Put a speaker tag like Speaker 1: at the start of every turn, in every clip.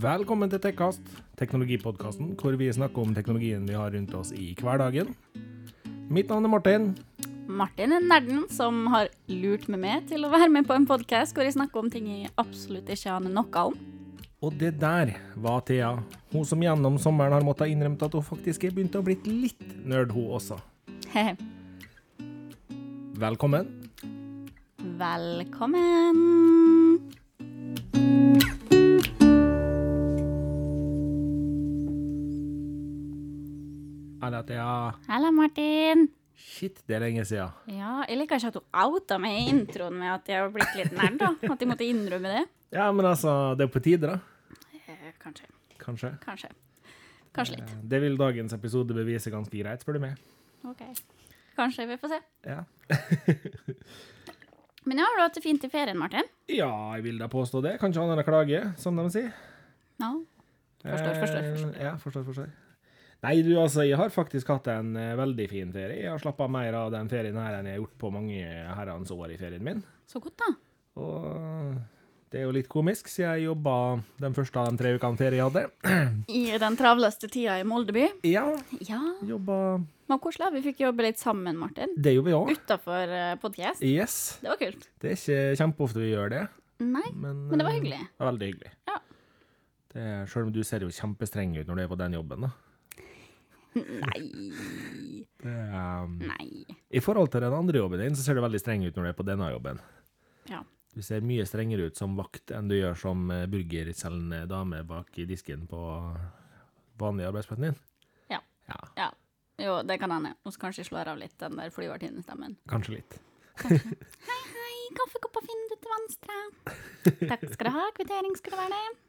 Speaker 1: Velkommen til Tekkast, teknologipodkasten hvor vi snakker om teknologien vi har rundt oss i hverdagen. Mitt navn er Martin.
Speaker 2: Martin er nerden som har lurt meg med til å være med på en podkast hvor jeg snakker om ting jeg absolutt ikke aner noe om.
Speaker 1: Og det der var Thea, hun som gjennom sommeren har måttet innrømme at hun faktisk er begynt å blitt litt nerd, hun også.
Speaker 2: Hehe.
Speaker 1: Velkommen.
Speaker 2: Velkommen!
Speaker 1: Eller Thea.
Speaker 2: Hallo, Martin.
Speaker 1: Shit, det er lenge siden.
Speaker 2: Ja, jeg liker ikke at du outa meg i introen med at jeg har blitt litt nerd, da. At jeg måtte innrømme det.
Speaker 1: Ja, men altså, det er på tide, da.
Speaker 2: Eh, Kanskje.
Speaker 1: Kanskje. Eh,
Speaker 2: Kanskje. Kanskje litt.
Speaker 1: Det vil dagens episode bevise ganske greit, spør du meg.
Speaker 2: Eh, OK. Kanskje. Vi får se.
Speaker 1: Ja.
Speaker 2: Men ja, har du hatt det fint i ferien, Martin?
Speaker 1: Ja, jeg vil da påstå det. Kanskje han er klage, som de sier.
Speaker 2: Ja. Forstår, forstår,
Speaker 1: Eh,
Speaker 2: forstår.
Speaker 1: Ja, forstår, forstår. Nei, du, altså, jeg har faktisk hatt en eh, veldig fin ferie. Jeg har slappa mer av den ferien her enn jeg har gjort på mange herrens år i ferien min.
Speaker 2: Så godt, da.
Speaker 1: Og det er jo litt komisk, siden jeg jobba den første av de tre ukene ferie jeg hadde.
Speaker 2: I den travleste tida i Moldeby.
Speaker 1: Ja,
Speaker 2: Ja,
Speaker 1: jobba
Speaker 2: men koselig. Vi fikk jobbe litt sammen, Martin. eh,
Speaker 1: Det gjorde vi òg.
Speaker 2: Utafor podkast.
Speaker 1: Yes.
Speaker 2: Det var kult.
Speaker 1: Det er ikke kjempeofte vi gjør det,
Speaker 2: Nei,
Speaker 1: men
Speaker 2: men det var
Speaker 1: eh,
Speaker 2: hyggelig.
Speaker 1: Det var veldig hyggelig.
Speaker 2: Ja.
Speaker 1: Det er, selv om du ser jo kjempestreng ut når du er på den jobben, da.
Speaker 2: Nei.
Speaker 1: Det er,
Speaker 2: Nei.
Speaker 1: I forhold til den andre jobben din, så ser du veldig streng ut når du er på denne jobben.
Speaker 2: Ja.
Speaker 1: Du ser mye strengere ut som vakt enn du gjør som eh, burgerselgende dame bak i disken på vanlig arbeidsplassen din.
Speaker 2: Ja.
Speaker 1: Ja,
Speaker 2: ja. Jo, det kan hende. Og så kanskje jeg slår av litt den der flyvertinnestemmen.
Speaker 1: kanskje litt.
Speaker 2: Hei, kaffekoppa finner du til venstre. Takk skal du ha. Kvittering skal det være det.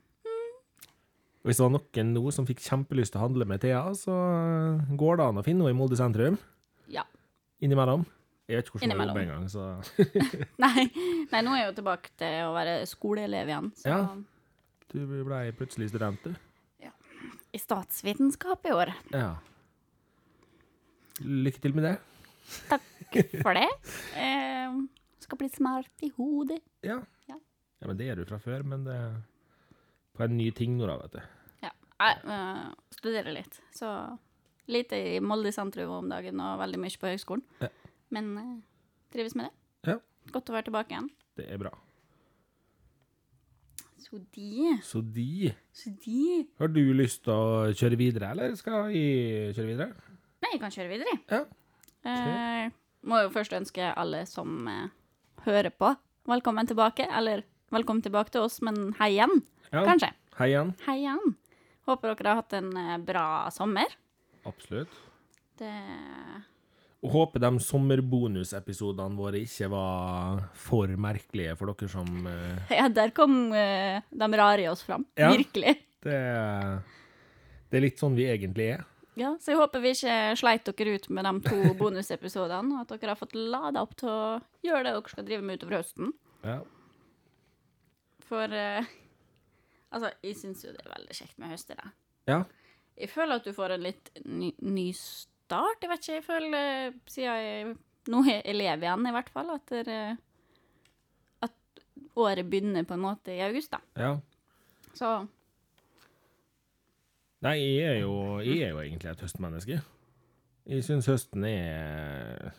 Speaker 1: Hvis det var noen nå som fikk kjempelyst til å handle med Thea, så eh, går det an å finne henne i Molde sentrum.
Speaker 2: Ja.
Speaker 1: Innimellom. Jeg vet ikke hvordan hun
Speaker 2: Innimellom.
Speaker 1: jobber engang, så
Speaker 2: Nei. Nei, nå er jeg jo tilbake til å være skoleelev igjen. Så
Speaker 1: Ja. du ble plutselig student, du.
Speaker 2: i statsvitenskap i år.
Speaker 1: Ja. Lykke til med det.
Speaker 2: For det. Eh, skal bli smart i hodet.
Speaker 1: Ja.
Speaker 2: Ja.
Speaker 1: ja men det er du fra før, men det er på en ny ting nå, da, vet du.
Speaker 2: Ja. Jeg eh, studerer litt, så lite i Molde sentrum om dagen og veldig mye på høgskolen.
Speaker 1: Ja.
Speaker 2: Men eh, trives med det.
Speaker 1: Ja.
Speaker 2: Godt å være tilbake igjen.
Speaker 1: Det er bra.
Speaker 2: Så de,
Speaker 1: Så de
Speaker 2: så de
Speaker 1: Har du lyst til å kjøre videre, eller skal jeg kjøre videre?
Speaker 2: Nei, jeg kan kjøre videre, jeg.
Speaker 1: Ja.
Speaker 2: Eh, må jo først ønske alle som eh, hører på, velkommen tilbake. Eller velkommen tilbake til oss, men hei igjen,
Speaker 1: Ja.
Speaker 2: kanskje.
Speaker 1: Hei igjen.
Speaker 2: Hei igjen. Håper dere har hatt en eh, bra sommer.
Speaker 1: Absolutt.
Speaker 2: Det
Speaker 1: Og håper de sommerbonusepisodene våre ikke var for merkelige for dere som eh,
Speaker 2: Ja, der kom eh, de rare i oss fram.
Speaker 1: Ja.
Speaker 2: Virkelig.
Speaker 1: det, det er litt sånn vi egentlig er.
Speaker 2: Ja, så jeg håper vi ikke sleit dere ut med de to bonusepisodene, og at dere har fått lada opp til å gjøre det dere skal drive med utover høsten.
Speaker 1: Ja.
Speaker 2: For eh, altså, jeg syns jo det er veldig kjekt med høstere.
Speaker 1: ja.
Speaker 2: Jeg føler at du får en litt ny, ny start. Jeg vet ikke, jeg føler eh, siden jeg nå er elev igjen, i hvert fall, at, der, eh, at året begynner på en måte i august, da.
Speaker 1: ja.
Speaker 2: Så
Speaker 1: Nei, jeg er jo, jeg er jo egentlig et høstmenneske. Jeg syns høsten er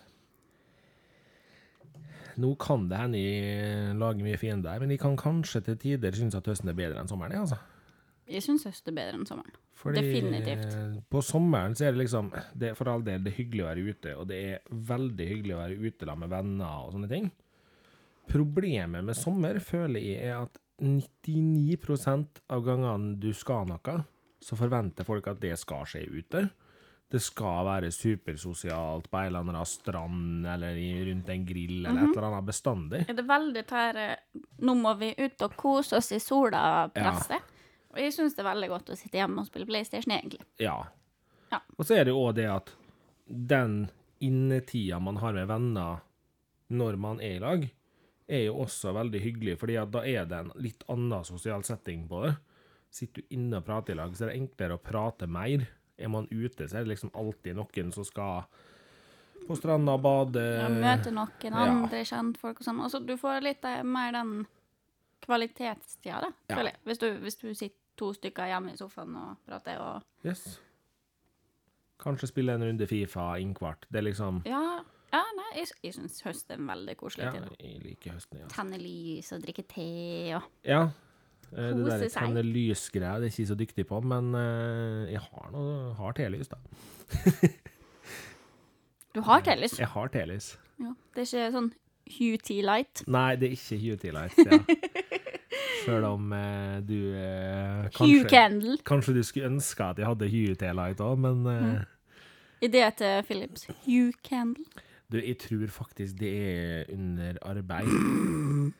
Speaker 1: Nå kan det hende jeg lager mye fiender, men jeg kan kanskje til tider synes at høsten er bedre enn sommeren, jeg, altså.
Speaker 2: jeg syns høst er bedre enn sommeren.
Speaker 1: Fordi
Speaker 2: Definitivt.
Speaker 1: eh, På sommeren så er det liksom det er For all del, det er hyggelig å være ute, og det er veldig hyggelig å være ute da med venner og sånne ting. Problemet med sommer, føler jeg, er at 99 av gangene du skal noe, så forventer folk at det skal skje ute. Det skal være supersosialt på ei eller annen strand eller i- rundt en grill eller et eller annet bestandig.
Speaker 2: er det veldig tær eh, Nå må vi ut og kose oss i sola presset. Og jeg syns det er veldig godt å sitte hjemme og spille PlayStation, egentlig.
Speaker 1: Ja.
Speaker 2: Ja.
Speaker 1: Og så er det jo òg det at den innetida man har med venner når man er i lag, er jo også veldig hyggelig, fordi at da er det en litt annen sosial setting på det. Sitter du inne og prater i lag, så er det enklere å prate mer. Er man ute, så er det liksom alltid noen som skal på stranda og bade.
Speaker 2: Og møte noen
Speaker 1: Eh, ja.
Speaker 2: andre kjentfolk og Altså, sånn. Og så du får litt eh, mer den kvalitetstida, da,
Speaker 1: Ja.
Speaker 2: føler jeg. Hvis du, hvis du sitter to stykker hjemme i sofaen og prater og
Speaker 1: Yes. Kanskje spille en runde Fifa innkvart. Det er liksom
Speaker 2: Ja, ja nei, jeg, jeg syns høst er en veldig koselig
Speaker 1: Ja,
Speaker 2: tid.
Speaker 1: jeg liker høsten, ja.
Speaker 2: Tenne lys og drikke te og
Speaker 1: Ja. eh, Det
Speaker 2: Kose
Speaker 1: der
Speaker 2: seg.
Speaker 1: tenne lysgreia det er ikke jeg så dyktig på, men eh, jeg har, noe, har telys, da.
Speaker 2: Du har telys?
Speaker 1: Jeg har telys.
Speaker 2: Ja. Det er ikke sånn Hue Tea Light?
Speaker 1: Nei, det er ikke Hue T-Light. Ja. Selv om eh, du eh,
Speaker 2: Hue
Speaker 1: kanskje,
Speaker 2: Candle?
Speaker 1: kanskje du skulle ønske at jeg hadde Hue T-Light òg, men eh,
Speaker 2: Mm. Idé til Philips. Hue Candle.
Speaker 1: du, jeg tror faktisk det er under arbeid.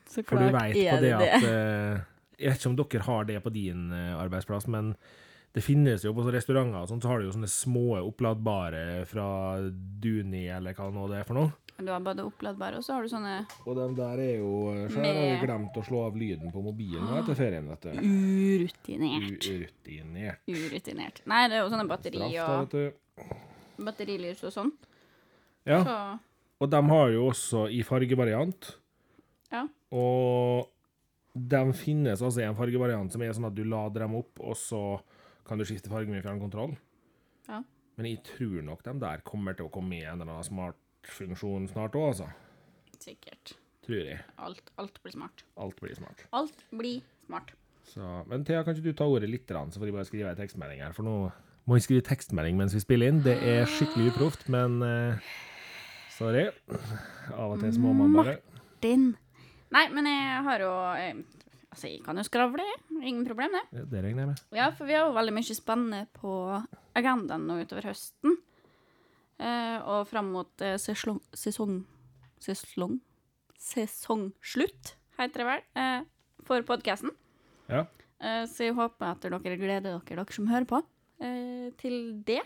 Speaker 2: Så
Speaker 1: For du
Speaker 2: klart
Speaker 1: veit på
Speaker 2: er
Speaker 1: det
Speaker 2: det det.
Speaker 1: at eh, Jeg vet ikke om dere har det på din eh, arbeidsplass, men det finnes jo på sånne restauranter og sånt, så har du jo sånne små oppladbare fra Duni eller hva nå det er for noe.
Speaker 2: Du har både oppladbare, og så har du sånne
Speaker 1: Og de der er jo eh,
Speaker 2: så har jeg Med-
Speaker 1: glemt å slå av lyden på mobilen etter ferien, vet du.
Speaker 2: urutinert.
Speaker 1: Urutinert.
Speaker 2: Urutinert. Nei, det er jo sånne batteri og
Speaker 1: vet du.
Speaker 2: batterilys og sånn.
Speaker 1: Ja,
Speaker 2: Så
Speaker 1: og de har jo også i fargevariant.
Speaker 2: ja.
Speaker 1: Og de finnes altså i en fargevariant som er sånn at du lader dem opp, og så kan du skifte farge med fjernkontroll.
Speaker 2: Ja.
Speaker 1: Men jeg tror nok de der kommer til å komme i en eller annen smartfunksjon snart òg, altså.
Speaker 2: Sikkert.
Speaker 1: Tror jeg.
Speaker 2: Alt, alt blir smart.
Speaker 1: Alt blir smart.
Speaker 2: Alt blir smart.
Speaker 1: Så, men Thea, kan ikke du ta ordet litt, grann, så får jeg bare skrive ei tekstmelding her? For nå må jeg skrive tekstmelding mens vi spiller inn. Det er skikkelig uproft, men eh, sorry. Av og til så må man bare
Speaker 2: Din. Nei, men jeg har jo eh, Altså, jeg kan jo skravle, jeg. ingen problem, det.
Speaker 1: Ja, Det regner jeg med.
Speaker 2: Ja, for vi har jo veldig mye spennende på agendaen nå utover høsten. Eh, og fram mot eh, seslong, sesong Seslong? Sesongslutt, heter det vel, eh, for podkasten.
Speaker 1: Ja.
Speaker 2: Eh, så jeg håper at dere gleder dere, dere som hører på, eh, til det.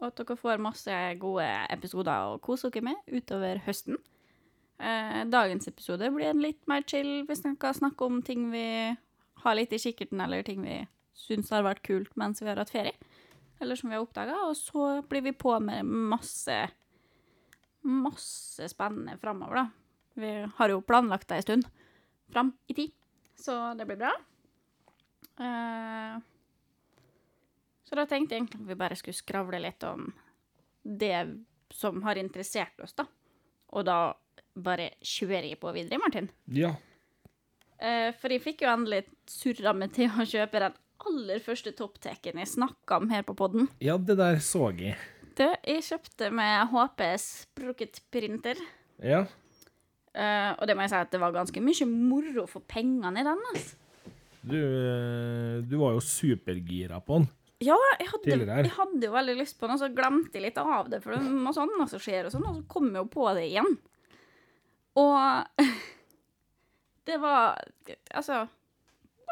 Speaker 2: Og at dere får masse gode episoder å kose dere med utover høsten. Eh, dagens episode blir en litt mer chill hvis vi skal snakke om ting vi har litt i kikkerten, eller ting vi syns har vært kult mens vi har hatt ferie. Eller som vi har oppdaga. Og så blir vi på med masse, masse spennende framover, da. Vi har jo planlagt det ei stund fram i tid, så det blir bra. Eh, Så da tenkte jeg egentlig at vi bare skulle skravle litt om det som har interessert oss, da. Og da bare kjører jeg på videre, Martin.
Speaker 1: ja.
Speaker 2: Eh, For jeg fikk jo endelig surra meg til å kjøpe den aller første toppteken jeg snakka om her på podden.
Speaker 1: Ja, det der så jeg.
Speaker 2: Du, jeg kjøpte med HP sprukket printer.
Speaker 1: Ja.
Speaker 2: Eh, og det må jeg si at det var ganske mye moro for pengene i den. ass.
Speaker 1: Du, eh, du var jo supergira på den.
Speaker 2: Ja, jeg hadde,
Speaker 1: Tidligere her.
Speaker 2: jeg hadde jo veldig lyst på den, og så glemte jeg litt av det, for det er masse annet som skjer, og sånn, og så kom jeg jo på det igjen. Og det var Altså,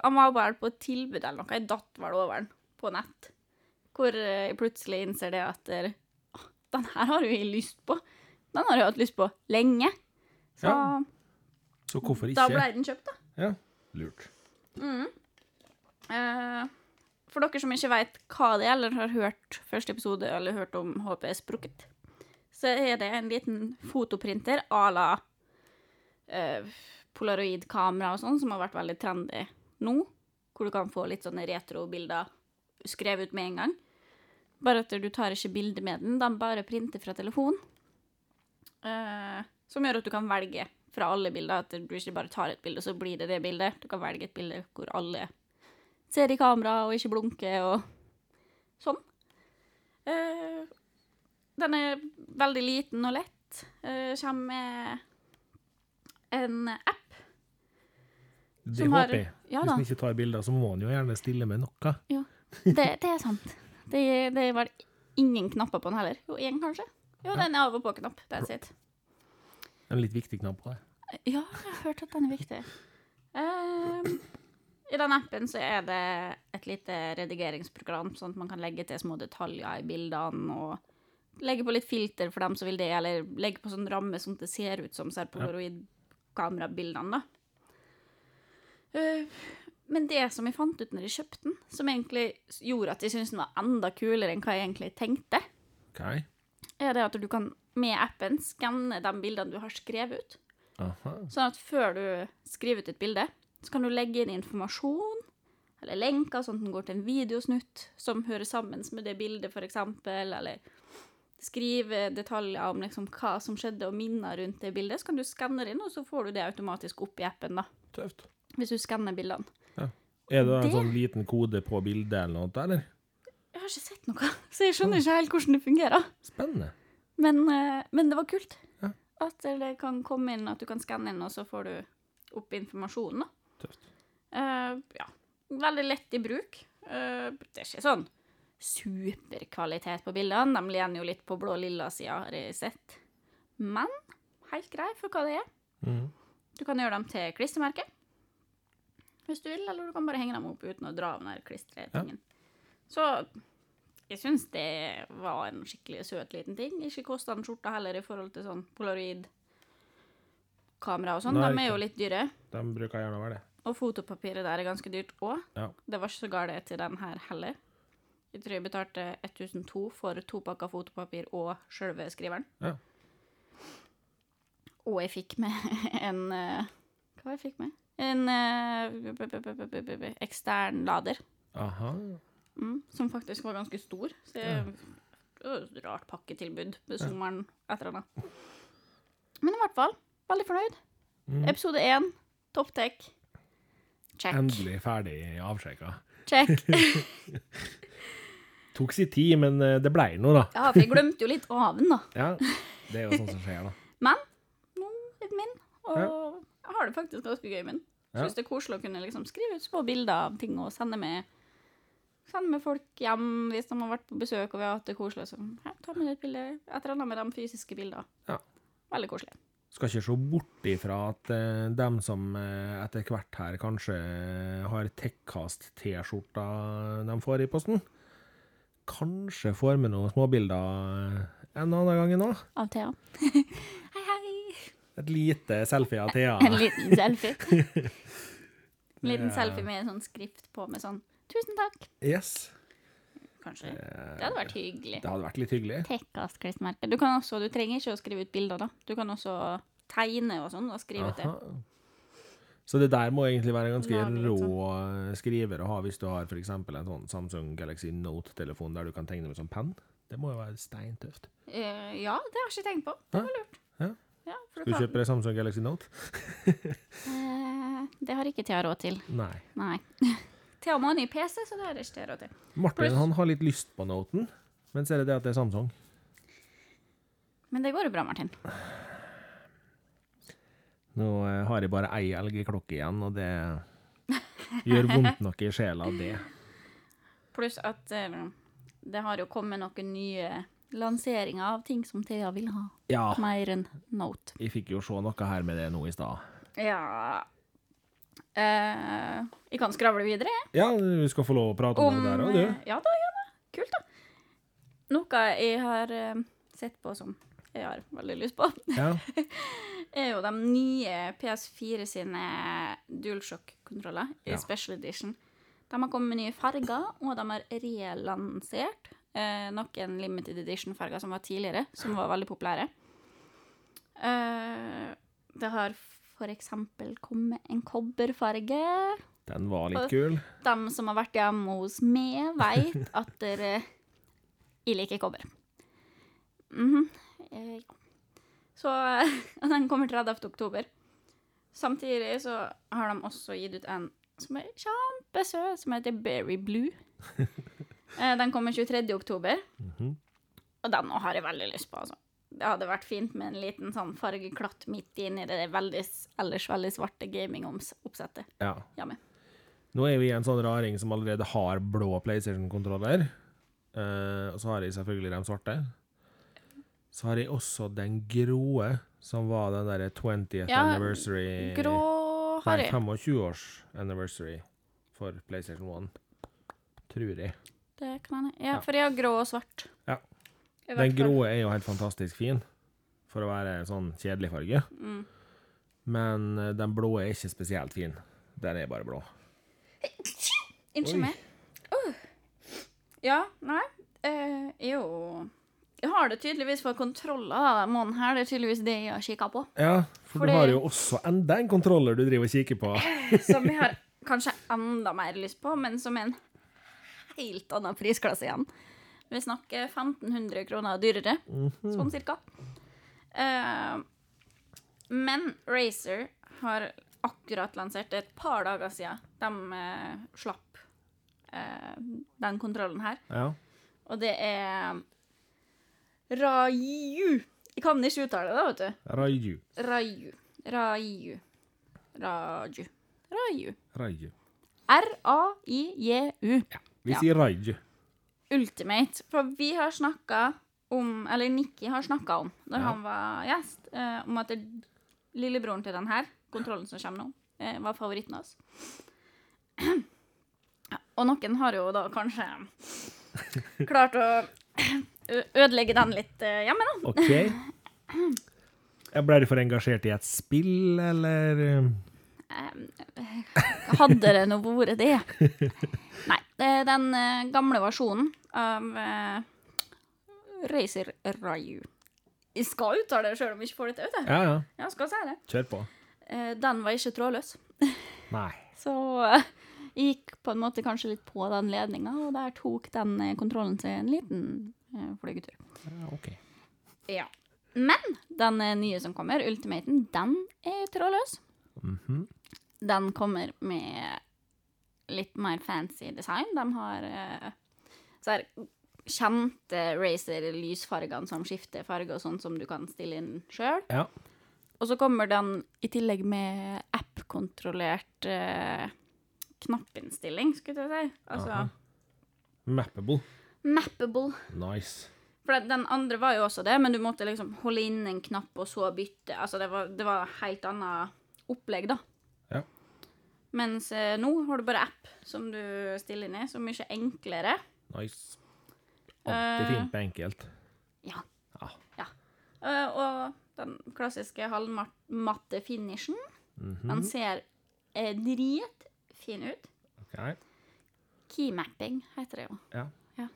Speaker 2: han var bare på et tilbud eller noe, jeg datt vel over den på nett, hvor eh, jeg plutselig innser det at eh, «Å, den her har jo jeg lyst på. Den har jeg hatt lyst på lenge. Så
Speaker 1: Ja, Så hvorfor ikke?
Speaker 2: da ble den kjøpt, da.
Speaker 1: Ja, lurt.
Speaker 2: Eh, for dere som ikke vet hva det er, eller har hørt første episode, eller hørt om HP Sprukket, så er det en liten fotoprinter à la eh, polaroidkamera og sånn, som har vært veldig trendy nå, hvor du kan få litt sånne retrobilder skrevet ut med en gang. Bare at du tar ikke bilde med den, den bare printer fra telefon. Eh, som gjør at du kan velge fra alle bilder, at du ikke bare tar et bilde, så blir det det bildet. Du kan velge et bilde hvor alle ser i kamera og ikke blunker og sånn. Eh, den er veldig liten og lett. Eh, kommer med en app.
Speaker 1: Det
Speaker 2: Som har-
Speaker 1: håper jeg.
Speaker 2: Ja
Speaker 1: Hvis
Speaker 2: da.
Speaker 1: man ikke tar bilder, så må man jo gjerne stille med noe.
Speaker 2: Det, det er sant. Det, det er vel ingen knapper på den heller. Jo, én kanskje. Jo, den er av og på-knapp. That's it.
Speaker 1: En litt viktig knapp på det.
Speaker 2: Ja, jeg har hørt at den er viktig. Ehm, I den appen så er det et lite redigeringsprogram, sånn at man kan legge til små detaljer i bildene og legge på litt filter for dem som vil det, eller legge på sånn ramme sånn at det ser ut som ser polaroid-kamerabildene, da. Eh, men det som jeg fant ut når jeg kjøpte den, som egentlig gjorde at jeg syntes den var enda kulere enn hva jeg egentlig tenkte,
Speaker 1: OK.
Speaker 2: er det at du kan med appen skanne de bildene du har skrevet ut.
Speaker 1: Aha.
Speaker 2: Sånn at før du skriver ut et bilde, så kan du legge inn informasjon eller lenker, sånn at den går til en videosnutt som hører sammen med det bildet, f.eks., eller skrive detaljer om liksom hva som skjedde, og minner rundt det bildet. Så kan du skanne det inn, og så får du det automatisk opp i appen, da,
Speaker 1: Tøft.
Speaker 2: hvis du skanner bildene.
Speaker 1: Er det en
Speaker 2: Det-
Speaker 1: sånn liten kode på bildet eller noe, eller?
Speaker 2: Jeg har ikke sett noe, så jeg skjønner ikke helt hvordan det fungerer.
Speaker 1: Spennende.
Speaker 2: Men, eh, men det var kult.
Speaker 1: Ja.
Speaker 2: At det kan komme inn, at du kan skanne inn, og så får du opp informasjonen. da.
Speaker 1: Tøft.
Speaker 2: Eh, ja. Veldig lett i bruk. Eh, det er ikke sånn superkvalitet på bildene. De lener jo litt på blå-lilla sida, har jeg sett. Men helt grei for hva det er.
Speaker 1: Mhm.
Speaker 2: Du kan gjøre dem til klistremerke hvis du vil, eller du kan bare henge dem opp uten å dra av den der klistretingen. Så jeg syns det var en skikkelig søt liten ting. Ikke kosta den skjorta heller i forhold til sånn polaroid-kamera og sånn.
Speaker 1: Nei,
Speaker 2: De er
Speaker 1: ikke.
Speaker 2: jo litt dyre.
Speaker 1: De bruker gjerne å være det.
Speaker 2: Og fotopapiret der er ganske dyrt òg.
Speaker 1: Ja.
Speaker 2: Det var ikke så galt til den her heller. Jeg tror jeg betalte 1002 for to pakker fotopapir og sjølve skriveren.
Speaker 1: Ja.
Speaker 2: Og jeg fikk med en eh, Hva var jeg fikk med? En eh, b- b- b- b- b- b- ekstern lader.
Speaker 1: Aha.
Speaker 2: Mm, som faktisk var ganske stor. Så jeg, det var et rart pakketilbud med sommeren etter henne. Men i hvert fall, veldig fornøyd.
Speaker 1: Mm.
Speaker 2: Episode én, topp tech. Check.
Speaker 1: Endelig ferdig avsjekka.
Speaker 2: Check.
Speaker 1: Tok si tid, men eh, det blei noe, da.
Speaker 2: Ja, for jeg glemte jo litt av den, da.
Speaker 1: Ja, Det er jo sånn som skjer, da.
Speaker 2: Litt min. Og jeg har det faktisk ganske gøy min.
Speaker 1: Ja.
Speaker 2: Syns det er koselig å kunne liksom skrive ut små bilder av ting og sende med Sende med folk hjem hvis de har vært på besøk og vi har hatt det koselig. Så her, ta med et bilde. Et eller annet med de fysiske bildene.
Speaker 1: Ja.
Speaker 2: Veldig koselig.
Speaker 1: Skal ikke se bort ifra at eh, dem som eh, etter hvert her kanskje eh, har Tekkast-T-skjorta de får i posten, kanskje får med noen småbilder en annen gang enn nå.
Speaker 2: Av Thea. hei, hei.
Speaker 1: Et lite selfie av Thea.
Speaker 2: En liten selfie. En
Speaker 1: Det er-
Speaker 2: liten selfie med en sånn skrift på med sånn 'tusen takk',
Speaker 1: Yes.
Speaker 2: kanskje. Det
Speaker 1: Eh,
Speaker 2: hadde vært hyggelig.
Speaker 1: Det hadde vært litt hyggelig.
Speaker 2: Tekkast-klistremerke. Du kan også, du trenger ikke å skrive ut bilder, da. Du kan også tegne og sånn, og skrive ut det.
Speaker 1: Aha. Så det der må egentlig være en ganske
Speaker 2: Lage litt
Speaker 1: rå eh, skriver å ha hvis du har f.eks. en sånn Samsung Galaxy Note-telefon der du kan tegne med sånn penn. Det må jo være steintøft.
Speaker 2: Eh, ja, det har jeg ikke tenkt på. Det var lurt.
Speaker 1: Ja.
Speaker 2: Ja,
Speaker 1: Skal
Speaker 2: for du
Speaker 1: du
Speaker 2: kan.
Speaker 1: kjøpe deg Samsung Galaxy Note?
Speaker 2: Eh, det har ikke Thea råd til.
Speaker 1: Nei.
Speaker 2: Nei. Thea må ha ny PC, så det har ikke Thea råd til.
Speaker 1: Martin
Speaker 2: Pluss-
Speaker 1: han har litt lyst på noten, men så er det det at det er Samsung.
Speaker 2: Men det går jo bra, Martin.
Speaker 1: Nå eh, har jeg bare ei elgklokke igjen, og det gjør vondt nok i sjela, det.
Speaker 2: Pluss at eh, det har jo kommet noen nye lanseringer av ting som Thea vil ha.
Speaker 1: Ja,
Speaker 2: Mer enn Note.
Speaker 1: jeg fikk jo se noe her med det nå i stad.
Speaker 2: Ja eh, Vi kan skravle videre, jeg.
Speaker 1: Ja, du skal få lov å prate om,
Speaker 2: Om,
Speaker 1: det der òg, du.
Speaker 2: eh, Ja da, ja da. Kult, da. Noe jeg har eh, sett på som jeg har veldig lyst på,
Speaker 1: Ja.
Speaker 2: er jo de nye PS4 sine DualShock-kontroller i
Speaker 1: Ja.
Speaker 2: special edition. De har kommet med nye farger, og de har relansert eh, noen limited edition-farger som var tidligere, som var veldig populære. Eh, det har for eksempel kommet en kobberfarge.
Speaker 1: Den var litt kul.
Speaker 2: De som har vært hjemme hos meg, vet at dere Jeg liker kobber. Mhm. Eh, ja. Så eh, den kommer 30. oktober. Samtidig så har de også gitt ut en som er kjempesøt, som heter Berry Blue. Eh, Den kommer 23. oktober.
Speaker 1: Mhm.
Speaker 2: Og den har jeg veldig lyst på, altså. Det hadde vært fint med en liten sånn fargeklatt midt inni det veldig, ellers veldig svarte gamingoppsettet.
Speaker 1: Ja.
Speaker 2: Ja, men.
Speaker 1: Nå er vi en sånn raring som allerede har blå PlayStation-kontroller. Eh, og så har jeg selvfølgelig de svarte. Så har jeg også den grå, som var den derre 20th
Speaker 2: Ja,
Speaker 1: anniversary
Speaker 2: Grå har
Speaker 1: Eh, Nei,
Speaker 2: jeg.
Speaker 1: 25 års anniversary for PlayStation 1. Tror jeg.
Speaker 2: Det kan hende. Ja, for jeg har grå og svart.
Speaker 1: Ja.
Speaker 2: I hvert
Speaker 1: Den
Speaker 2: fall.
Speaker 1: grå er jo helt fantastisk fin, for å være sånn kjedelig farge.
Speaker 2: Mm.
Speaker 1: Men eh, den blå er ikke spesielt fin. Den er bare blå. Oi.
Speaker 2: Unnskyld meg. Åh. Ja, nei. eh, jo Jeg har det tydeligvis for kontroller denne måneden her. Det er tydeligvis det jeg har kikka på.
Speaker 1: Ja, for
Speaker 2: Fordi-
Speaker 1: du har jo også enda en kontroller du driver og kikker på.
Speaker 2: Som jeg har kanskje enda mer lyst på, men som er en helt annen prisklasse igjen. Vi snakker 1500 kroner dyrere, sånn cirka. Eh, men Racer har akkurat lansert det er et par dager siden. De eh, slapp eh, den kontrollen her.
Speaker 1: Ja.
Speaker 2: Og det er Raiu. Jeg kan ikke uttale det, vet du.
Speaker 1: Raju.
Speaker 2: Raiu. Raiu. Raju. Raiu.
Speaker 1: Raju.
Speaker 2: R-a-i-j-u.
Speaker 1: Vi
Speaker 2: Ja.
Speaker 1: sier Raju.
Speaker 2: Ultimate. For vi har snakka om, eller Nikki har snakka om, når
Speaker 1: Ja.
Speaker 2: han var gjest, eh, om at det, lillebroren til den her, kontrollen som kommer nå, eh, var favoritten hans. Og noen har jo da kanskje klart å ø- ødelegge den litt eh, hjemme, da.
Speaker 1: OK. Jeg ble du for engasjert i et spill, eller eh,
Speaker 2: Hadde det nå vært det. Nei. Det er den eh, gamle versjonen av eh, Racer Ryu. Jeg skal uttale det sjøl om jeg ikke får det til, vet du.
Speaker 1: Ja, ja.
Speaker 2: Ja, skal si det.
Speaker 1: Kjør på.
Speaker 2: Eh, den var ikke trådløs.
Speaker 1: Nei.
Speaker 2: Så eh, jeg gikk på en måte kanskje litt på den ledninga, og der tok den eh, kontrollen seg en liten eh, flygetur.
Speaker 1: Ja, OK.
Speaker 2: Ja. Men den eh, nye som kommer, Ultimaten, den er trådløs.
Speaker 1: Mhm.
Speaker 2: Den kommer med litt mer fancy design. De har eh, så her kjente racer-lysfargene som skifter farge og sånn, som du kan stille inn sjøl.
Speaker 1: Ja.
Speaker 2: Og så kommer den i tillegg med app-kontrollert eh, knappinnstilling, skulle jeg til å si. Altså
Speaker 1: Aha. Mappable.
Speaker 2: mappable.
Speaker 1: Nice.
Speaker 2: For den- den andre var jo også det, men du måtte liksom holde inn en knapp og så bytte. Altså det var, det var helt annet opplegg, da.
Speaker 1: Ja.
Speaker 2: Mens eh, nå har du bare app som du stiller inn i, så mye enklere.
Speaker 1: Nice. Alltid
Speaker 2: Eh.
Speaker 1: fint med enkelt.
Speaker 2: Ja.
Speaker 1: Ja.
Speaker 2: Eh, og den klassiske halvmatte finishen,
Speaker 1: Mhm.
Speaker 2: den ser eh, dritfin ut.
Speaker 1: OK.
Speaker 2: Keymapping heter det jo.
Speaker 1: Ja.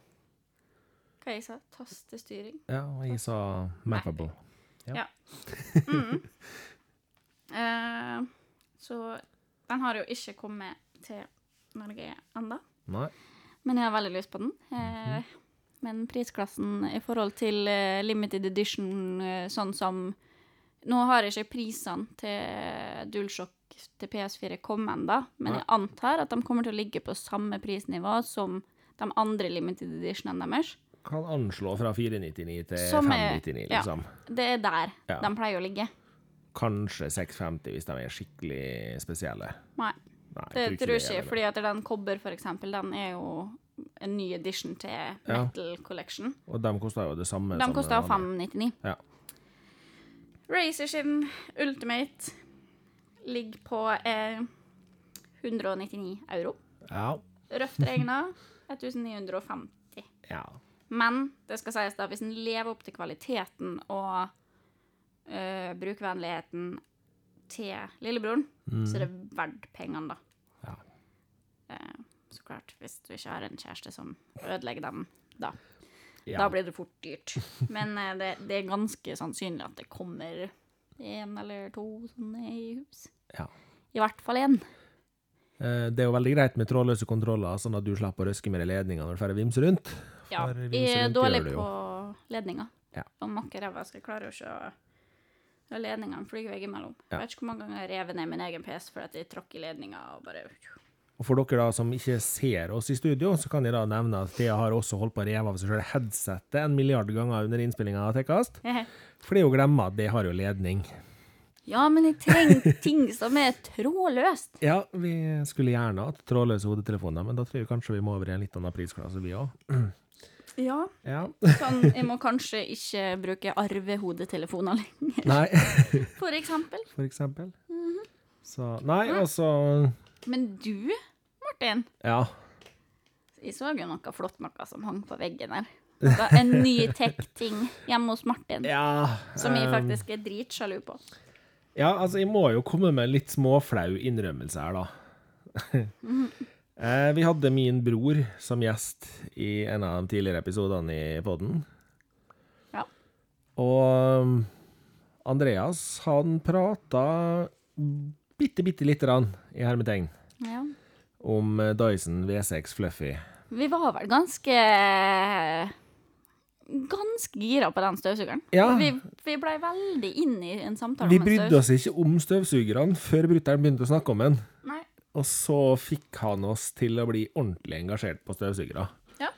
Speaker 2: Hva jeg sa? Tastestyring.
Speaker 1: Ja, og jeg sa mappable.
Speaker 2: Eh, så den har jo ikke kommet til Norge enda.
Speaker 1: Nei.
Speaker 2: Men jeg har veldig lyst på den.
Speaker 1: Mhm.
Speaker 2: Eh, men prisklassen i forhold til eh, limited edition, eh, sånn som Nå har ikke prisene til DualShock til PS4 kommet ennå, men
Speaker 1: Nei.
Speaker 2: jeg antar at de kommer til å ligge på samme prisnivå som de andre limited editionene deres.
Speaker 1: Kan anslå fra 499 til
Speaker 2: Som er-
Speaker 1: 599,
Speaker 2: ja.
Speaker 1: liksom.
Speaker 2: Det er der
Speaker 1: Ja.
Speaker 2: de pleier å ligge.
Speaker 1: Kanskje 650 hvis de er skikkelig spesielle.
Speaker 2: Nei.
Speaker 1: Nei,
Speaker 2: Det
Speaker 1: jeg
Speaker 2: tror
Speaker 1: det
Speaker 2: jeg
Speaker 1: er
Speaker 2: ikke,
Speaker 1: det.
Speaker 2: fordi at den kobber, for eksempel, den er jo en ny edition til Metal Collection.
Speaker 1: Og de koster jo det samme.
Speaker 2: De
Speaker 1: som
Speaker 2: koster
Speaker 1: den andre.
Speaker 2: 599.
Speaker 1: Ja.
Speaker 2: Razer sin Ultimate ligger på eh, 199 euro.
Speaker 1: Ja.
Speaker 2: Røft regna 1950.
Speaker 1: ja.
Speaker 2: Men det skal sies da, hvis en lever opp til kvaliteten og eh, brukvennligheten til lillebroren, så er det verdt pengene, da.
Speaker 1: Mm. Ja.
Speaker 2: Eh, så klart, hvis du ikke har en kjæreste som ødelegger dem, da.
Speaker 1: ja.
Speaker 2: Da blir det fort dyrt. Men eh, det, det er ganske sannsynlig at det kommer en eller to sånne i hus.
Speaker 1: ja.
Speaker 2: I hvert fall én.
Speaker 1: Eh, Det er jo veldig greit med trådløse kontroller, sånn at du slipper å røske med deg ledninga når du får vimse rundt.
Speaker 2: Ja,
Speaker 1: For vimser
Speaker 2: jeg er
Speaker 1: rundt
Speaker 2: dårlig
Speaker 1: gjør det jo.
Speaker 2: på ledninger.
Speaker 1: Ja.
Speaker 2: Og makkeræva skal klare å se når ledningene flyr veggimellom.
Speaker 1: Ja.
Speaker 2: Jeg vet ikke hvor mange ganger jeg rev ned min egen PC fordi at jeg tråkk i ledninga og bare
Speaker 1: Og for dere da som ikke ser oss i studio, så kan jeg da nevne at Thea har også holdt på å reve av seg sjøl headsetet en milliard ganger under innspillinga av Tekkast. Fordi hun glemmer at det har jo ledning.
Speaker 2: Ja, men jeg trenger ting som er trådløst.
Speaker 1: Ja, vi skulle gjerne hatt trådløse hodetelefoner, men da tror jeg kanskje vi må over i en litt annen prisklasse, vi òg.
Speaker 2: Ja.
Speaker 1: Ja.
Speaker 2: Sånn, jeg må kanskje ikke bruke arvehodetelefoner lenger,
Speaker 1: Nei,
Speaker 2: for eksempel.
Speaker 1: for eksempel.
Speaker 2: Mhm.
Speaker 1: Så Nei, altså
Speaker 2: Men du, Martin,
Speaker 1: Ja.
Speaker 2: jeg så jo noe flott noe som hang på veggen her. Noe- En ny tech-ting hjemme hos Martin,
Speaker 1: ja
Speaker 2: som jeg
Speaker 1: eh,
Speaker 2: faktisk er dritsjalu på.
Speaker 1: Ja, altså, jeg må jo komme med en litt småflau innrømmelse her, da. Eh, Vi hadde min bror som gjest i en av de tidligere episodene i podden.
Speaker 2: Ja.
Speaker 1: Og um, Andreas, han prata bitte, bitte lite grann i hermetegn
Speaker 2: Ja.
Speaker 1: om eh, Dyson V6 Fluffy.
Speaker 2: Vi var vel ganske Ganske gira på den støvsugeren.
Speaker 1: Ja.
Speaker 2: Vi, vi blei veldig inn i en samtale
Speaker 1: Vi
Speaker 2: om en
Speaker 1: brydde oss ikke om støvsugerne før brutter'n begynte å snakke om den.
Speaker 2: Nei.
Speaker 1: Og så fikk han oss til å bli ordentlig engasjert på støvsugere.
Speaker 2: Ja.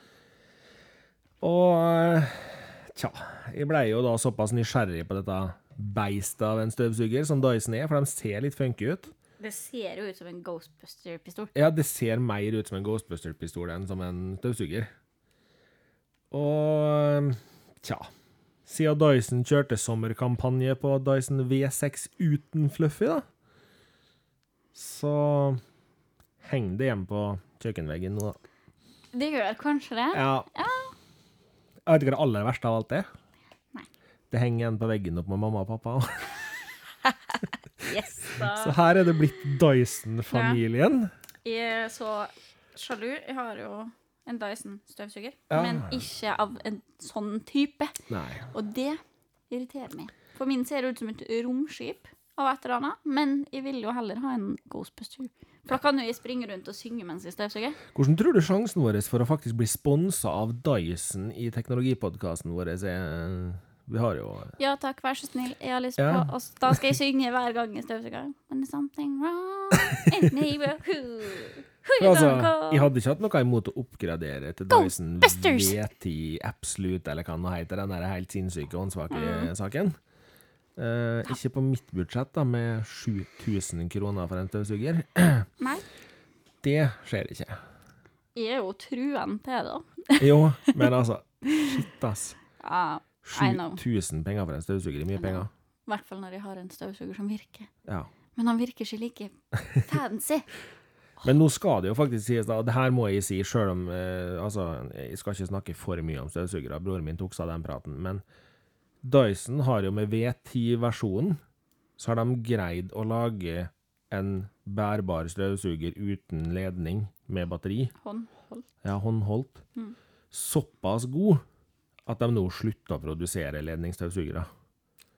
Speaker 1: Og eh, tja, jeg blei jo da såpass nysgjerrig på dette beistet av en støvsuger som Dyson er, for de ser litt funky ut.
Speaker 2: Det ser jo ut som en Ghostbuster-pistol.
Speaker 1: Ja, det ser mer ut som en Ghostbuster-pistol enn som en støvsuger. Og eh, tja. Siden Dyson kjørte sommerkampanje på Dyson V6 uten Fluffy, da, så henger det hjemme på kjøkkenveggen nå, da.
Speaker 2: Det gjør kanskje det.
Speaker 1: Ja. Jeg vet ikke hva det aller verste av alt er.
Speaker 2: Nei.
Speaker 1: Det henger igjen på veggen opp med mamma og pappa.
Speaker 2: Yes, da.
Speaker 1: Så her er det blitt Dyson-familien.
Speaker 2: Jeg er så sjalu. Jeg har jo en Dyson-støvsuger,
Speaker 1: Ja.
Speaker 2: men ikke av en sånn type.
Speaker 1: Nei.
Speaker 2: Og det irriterer meg. For min ser ut som et romskip av et eller annet, men jeg vil jo heller ha en Ghostbuster. For da kan jo jeg springe rundt og synge mens jeg støvsuger.
Speaker 1: Hvordan tror du sjansen vår for å faktisk bli sponsa av Dyson i teknologipodkasten vår er eh, Vi har jo
Speaker 2: Ja takk, vær så snill, jeg har lyst
Speaker 1: Ja.
Speaker 2: på oss. Da skal jeg synge hver gang jeg støvsuger. When there's something wrong in the neighborhood, who you
Speaker 1: Altså,
Speaker 2: gonna
Speaker 1: jeg
Speaker 2: call?
Speaker 1: hadde ikke hatt noe imot å oppgradere til
Speaker 2: Go,
Speaker 1: Dyson
Speaker 2: Busters!
Speaker 1: V10 Absolute, eller hva den heter, den der helt sinnssyke, åndssvake saken. Eh, ikke på mitt budsjett, da, med 7000 kroner for en støvsuger.
Speaker 2: Nei,
Speaker 1: Det skjer ikke.
Speaker 2: jeg er jo truen til det.
Speaker 1: Jo, men altså Shit, ass.
Speaker 2: Ja, I know.
Speaker 1: 7000 penger for en støvsuger er mye penger.
Speaker 2: I hvert fall når jeg har en støvsuger som virker.
Speaker 1: Ja.
Speaker 2: Men han virker ikke like fancy.
Speaker 1: Men nå skal det jo faktisk sies, da, og det her må jeg si, sjøl om eh, Altså, jeg skal ikke snakke for mye om støvsugere, broren min tok seg av den praten, men Dyson har jo med V10-versjonen, så har de greid å lage en bærbar støvsuger uten ledning, med batteri,
Speaker 2: Håndholdt.
Speaker 1: ja, håndholdt,
Speaker 2: Mm.
Speaker 1: såpass god at de nå slutter å produsere ledningsstøvsugere.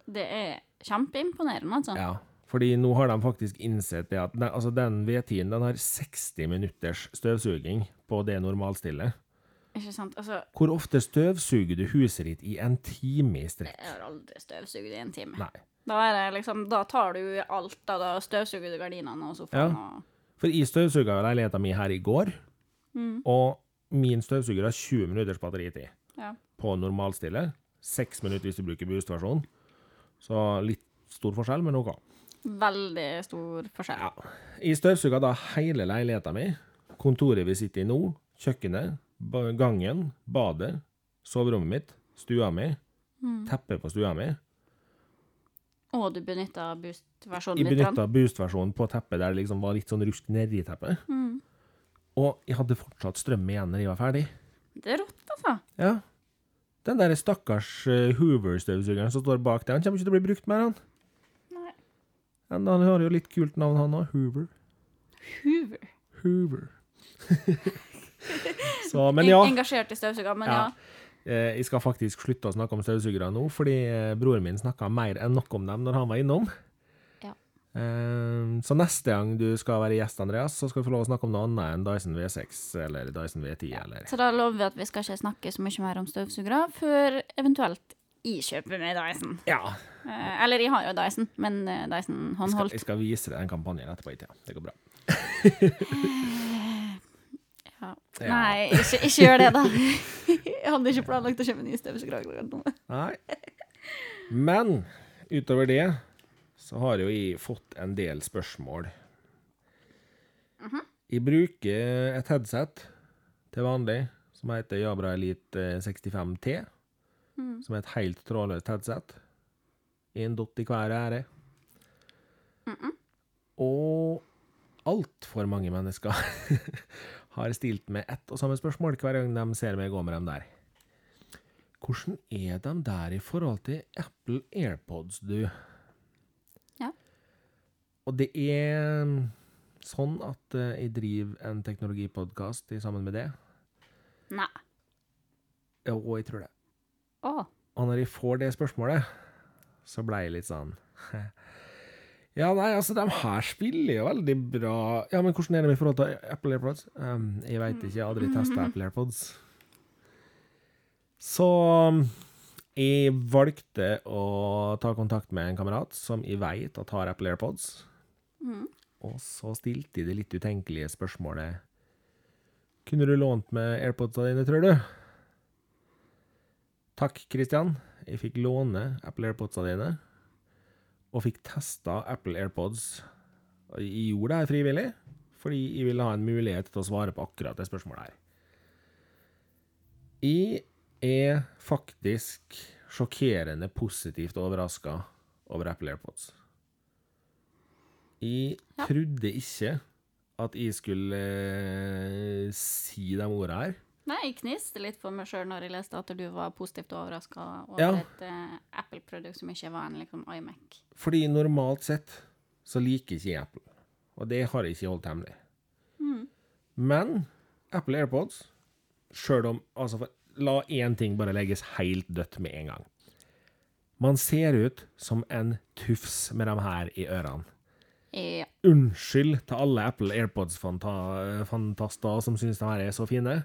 Speaker 2: Det er kjempeimponerende, altså.
Speaker 1: Ja, fordi nå har de faktisk innsett det at nei, altså den V10-en den har 60 minutters støvsuging på det normalstille.
Speaker 2: Ikke sant? Altså,
Speaker 1: Hvor ofte støvsuger du huset ditt i en time i strekk?
Speaker 2: jeg har aldri støvsugd i en time.
Speaker 1: Nei.
Speaker 2: Da, er det liksom, da tar du alt, da, da støvsuger du gardinene og sofaen og
Speaker 1: For jeg støvsuga jo leiligheta mi her i går, og min støvsuger har 20 minutters batteritid
Speaker 2: ja.
Speaker 1: på normalstille. Seks minutter hvis du bruker boost-versjonen. Så litt stor forskjell, men OK.
Speaker 2: Veldig stor forskjell.
Speaker 1: Ja. Jeg støvsuga da hele leiligheta mi. Kontoret vi sitter i nå, kjøkkenet, ba- gangen, badet, soverommet mitt, stua mi,
Speaker 2: Mm.
Speaker 1: teppet på stua mi.
Speaker 2: Og du benytta boost-versjonen
Speaker 1: Jeg
Speaker 2: Sånn litt. grann.
Speaker 1: benytta boost-versjonen på teppet der det liksom var litt sånn rusk nedi teppet.
Speaker 2: Mm.
Speaker 1: Og jeg hadde fortsatt strøm igjen når jeg var ferdig.
Speaker 2: Det er rått, altså.
Speaker 1: Ja. Den der stakkars eh, Hoover-støvsugeren som står bak der, han kommer ikke til å bli brukt mer, han.
Speaker 2: Nei.
Speaker 1: Men Han har jo litt kult navn, han òg. Hoover.
Speaker 2: Hoover.
Speaker 1: Hoover. Så, men
Speaker 2: Eng-
Speaker 1: ja.
Speaker 2: Engasjert i støvsuger, men ja.
Speaker 1: Ja. Eh, Jeg skal faktisk slutte å snakke om støvsugere nå, fordi eh, broren min snakka mer enn nok om dem når han var innom.
Speaker 2: Ja.
Speaker 1: Eh, Så neste gang du skal være gjest, Andreas, så skal du få lov å snakke om noe annet enn Dyson V6 eller Dyson V10 eller
Speaker 2: Så da lover vi at vi skal ikke snakke så mye mer om støvsugere før eventuelt jeg kjøper meg Dyson.
Speaker 1: Ja.
Speaker 2: Eh, eller jeg har jo Dyson, men eh, Dyson
Speaker 1: Jeg skal,
Speaker 2: håndholdt.
Speaker 1: jeg skal vise deg den kampanjen etterpå i tida. Det går bra.
Speaker 2: Ja.
Speaker 1: Ja.
Speaker 2: Nei, ikke, ikke gjør det, da. Jeg hadde ikke planlagt å kjøpe ny støvsuger. akkurat nå.
Speaker 1: Nei. Men utover det så har jo jeg fått en del spørsmål. Jeg bruker et headset til vanlig som heter Jabra Elite eh, 65T. Som er et helt trådløst headset. En dott i hver ære. Og altfor mange mennesker har stilt meg ett og samme spørsmål hver gang de ser meg gå med dem der. Hvordan er de der i forhold til Apple AirPods, du?
Speaker 2: Ja.
Speaker 1: Og det er sånn at eh, jeg driver en teknologipodkast sammen med det.
Speaker 2: Nei.
Speaker 1: Jo, Og jeg tror det.
Speaker 2: Å.
Speaker 1: Og når jeg får det spørsmålet, så blei jeg litt sånn Ja, nei, altså, de her spiller jo veldig bra Ja, men hvordan er de i forhold til Apple AirPods? Um, jeg veit ikke, jeg har aldri testa Apple AirPods. Så um, jeg valgte å ta kontakt med en kamerat som jeg veit at har Apple AirPods.
Speaker 2: Mm.
Speaker 1: Og så stilte jeg det litt utenkelige spørsmålet Kunne du lånt med AirPodsa dine, tror du? Takk, Christian. Jeg fikk låne Apple AirPodsa dine og fikk testa Apple AirPods. Og Jeg gjorde det her frivillig, fordi jeg ville ha en mulighet til å svare på akkurat det spørsmålet her. Jeg er faktisk sjokkerende positivt overraska over Apple AirPods. Jeg trodde ikke at jeg skulle eh, si de ordene her.
Speaker 2: Nei, jeg kniste litt for meg sjøl når jeg leste at du var positivt overraska over
Speaker 1: Ja.
Speaker 2: et eh, Apple-produkt som ikke var en liksom, iMac.
Speaker 1: Fordi normalt sett så liker ikke jeg Apple, og det har jeg ikke holdt hemmelig. Men Apple AirPods, sjøl om altså, for- La én ting bare legges helt dødt med en gang. Man ser ut som en tufs med dem her i ørene.
Speaker 2: Ja.
Speaker 1: Unnskyld til alle Apple AirPods-fantaster som syns de her er så fine.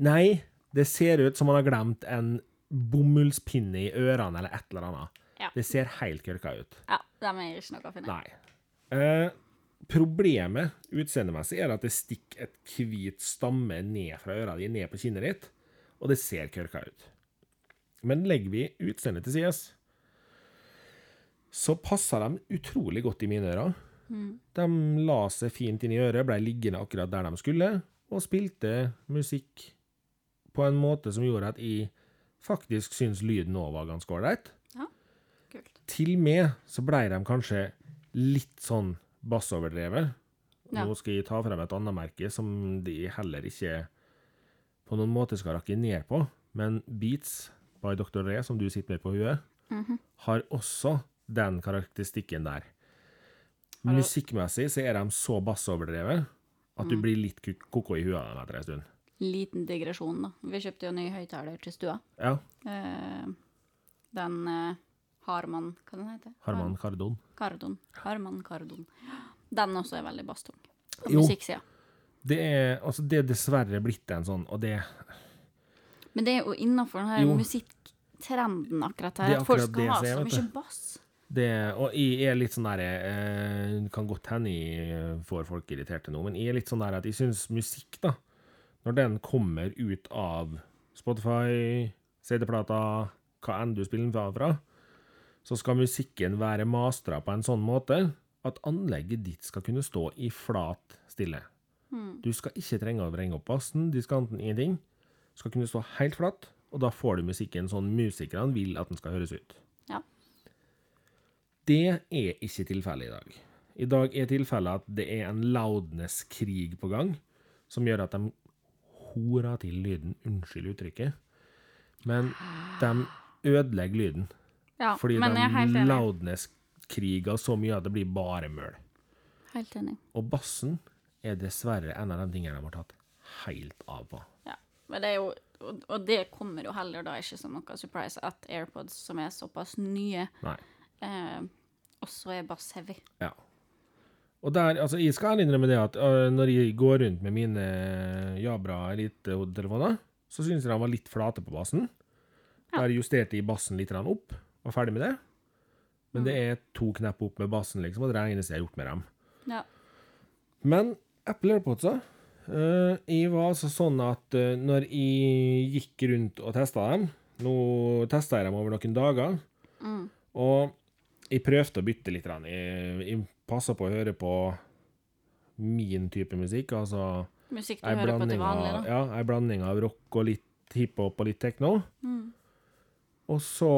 Speaker 1: Nei, det ser ut som man har glemt en bomullspinne i ørene eller et eller annet.
Speaker 2: Ja.
Speaker 1: Det ser helt kørka ut.
Speaker 2: ja dem er ikke noe å finne.
Speaker 1: Nei. Eh, problemet utseendemessig er at det stikker et hvit stamme ned fra øra di, ned på kinnet ditt, og det ser kørka ut. Men legger vi utseendet til sides, så passer de utrolig godt i mine ører. De la seg fint inn i øret, blei liggende akkurat der de skulle, og spilte musikk på en måte som gjorde at jeg faktisk syns lyden nå var ganske ålreit
Speaker 2: Ja, kult.
Speaker 1: til og med så blei de kanskje litt sånn bassoverdrevet.
Speaker 2: Ja.
Speaker 1: Nå skal jeg ta frem et annet merke som de heller ikke på noen måte skal rakke ned på, men Beats by Dr. Re, som du sitter med på huet, har også den karakteristikken der.
Speaker 2: Hallo.
Speaker 1: Musikkmessig så er de så bassoverdrevet at du blir litt ku- ko-ko i huet av dem etter en stund.
Speaker 2: Liten digresjon, da. Vi kjøpte jo ny høyttaler til stua.
Speaker 1: Ja,
Speaker 2: Eh, den eh, Harman Hva den heter
Speaker 1: Harman Kardon.
Speaker 2: Kardon. Harman Kardon. Den også er veldig basstung. På
Speaker 1: Jo.
Speaker 2: musikksida.
Speaker 1: Det er, altså det er dessverre blitt en sånn, og det
Speaker 2: Men det er jo innafor den her
Speaker 1: Jo.
Speaker 2: musikktrenden akkurat her.
Speaker 1: Det er
Speaker 2: at folk
Speaker 1: akkurat det
Speaker 2: skal ha
Speaker 1: jeg
Speaker 2: så
Speaker 1: sier, vet
Speaker 2: mye bass.
Speaker 1: Det, og jeg er litt sånn der eh, Kan godt hende jeg eh, får folk irriterte nå, men jeg er litt sånn der at jeg syns musikk, da, når den kommer ut av Spotify, CD-plata, hva enn du spiller den fra, fra, så skal musikken være mastra på en sånn måte at anlegget ditt skal kunne stå i flat stille. Du skal ikke trenge å vrenge opp bassen, diskanten, ingenting. Du skal kunne stå helt flatt, og da får du musikken sånn musikerne vil at den skal høres ut.
Speaker 2: Ja.
Speaker 1: Det er ikke tilfellet i dag. I dag er tilfellet at det er en loudness-krig på gang, som gjør at de horer til lyden, unnskyld uttrykket, men de ødelegger lyden.
Speaker 2: ja.
Speaker 1: Fordi
Speaker 2: men jeg er helt
Speaker 1: de
Speaker 2: enig.
Speaker 1: loudness-kriger så mye at det blir bare møl.
Speaker 2: Helt enig.
Speaker 1: Og bassen er dessverre en av de tingene de har tatt helt av på.
Speaker 2: Ja. Men det er jo, og, og det kommer jo heller da ikke som noe surprise at AirPods, som er såpass nye,
Speaker 1: Nei.
Speaker 2: eh, også er bass-heavy.
Speaker 1: Ja. Og der, altså, jeg skal innrømme det at øh, når jeg går rundt med mine øh, Jabra Elite-hodetelefoner, så syns jeg de var litt flate på bassen. Der justerte jeg bassen litt grann opp, var ferdig med det. Men det er to knepp opp med bassen, liksom, og det er det eneste jeg har gjort med dem.
Speaker 2: Ja.
Speaker 1: Men Apple AirPods, da. eh, jeg var altså sånn at eh, når jeg gikk rundt og testa dem Nå testa jeg dem over noen dager, og jeg prøvde å bytte litt. grann. Jeg, jeg passa på å høre på min type musikk, altså
Speaker 2: Musikk du
Speaker 1: ei
Speaker 2: hører på til
Speaker 1: blanding,
Speaker 2: vanlig,
Speaker 1: av,
Speaker 2: da.
Speaker 1: ja, ei blanding av rock og litt hiphop og litt techno.
Speaker 2: Mm.
Speaker 1: Og så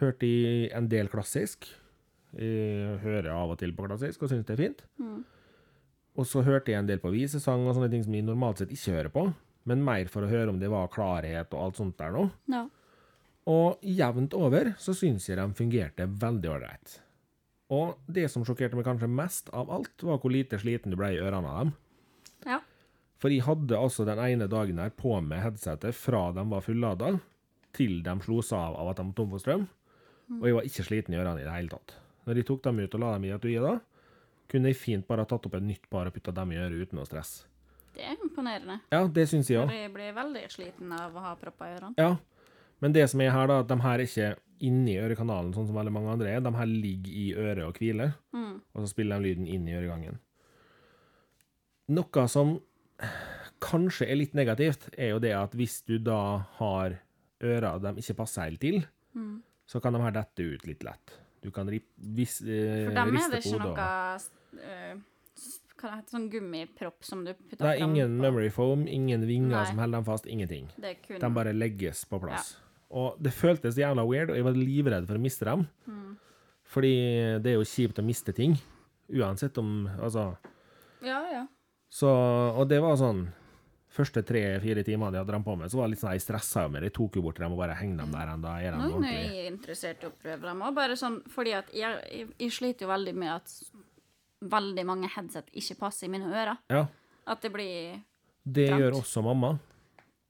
Speaker 1: hørte jeg en del klassisk. Jeg hører av og til på klassisk og syns det er fint.
Speaker 2: Mm.
Speaker 1: Og så hørte jeg en del på visesang og sånne ting som jeg normalt sett ikke hører på, men mer for å høre om det var klarhet og alt sånt der nå.
Speaker 2: Ja.
Speaker 1: Og jevnt over så syns jeg de fungerte veldig ålreit. Og det som sjokkerte meg kanskje mest av alt, var hvor lite sliten du ble i ørene av dem.
Speaker 2: ja.
Speaker 1: For jeg hadde altså den ene dagen her på med headsetet fra de var fullada, til de slo seg av av at de var tom for strøm. Og jeg var ikke sliten i ørene i det hele tatt. Når jeg tok dem ut og la dem i et da, kunne jeg fint bare ha tatt opp et nytt par og putta dem i øret uten noe stress.
Speaker 2: Det er imponerende.
Speaker 1: Ja, det syns jeg òg.
Speaker 2: For jeg blir veldig sliten av å ha propper i ørene.
Speaker 1: Ja, men det som er her, da, at de her er ikke inni ørekanalen, sånn som veldig mange andre er. De her ligger i øret og hviler,
Speaker 2: Mm.
Speaker 1: og så spiller de lyden inn i øregangen. Noe som kanskje er litt negativt, er jo det at hvis du da har ører de ikke passer helt til,
Speaker 2: Mm.
Speaker 1: så kan de her dette ut litt lett. Du kan rip, vis, eh,
Speaker 2: For dem er
Speaker 1: riste
Speaker 2: det
Speaker 1: på
Speaker 2: ikke
Speaker 1: hodet.
Speaker 2: noe
Speaker 1: og-
Speaker 2: eh, s- Hva det heter sånn gummipropp som du putter
Speaker 1: Det er
Speaker 2: fram
Speaker 1: ingen
Speaker 2: på.
Speaker 1: memory foam, ingen vinger
Speaker 2: Nei.
Speaker 1: som holder dem fast, ingenting.
Speaker 2: Det er kun
Speaker 1: De bare legges på plass. Og det føltes jævla weird, og jeg var livredd for å miste dem.
Speaker 2: Mm.
Speaker 1: Fordi det er jo kjipt å miste ting. Uansett om Altså.
Speaker 2: Ja, ja.
Speaker 1: Så Og det var sånn Første tre-fire timene jeg hadde dem på meg, så var det litt sånn jeg stressa jo med det. Jeg tok jo bort dem og bare hengte dem
Speaker 2: Mm.
Speaker 1: der enda. Er dem
Speaker 2: Nå er
Speaker 1: ordentlig?
Speaker 2: jeg interessert i å prøve dem òg, bare sånn fordi at jeg, jeg, jeg sliter jo veldig med at s- veldig mange headset ikke passer i mine ører.
Speaker 1: Ja.
Speaker 2: At det blir
Speaker 1: Det
Speaker 2: Sant.
Speaker 1: gjør også mamma.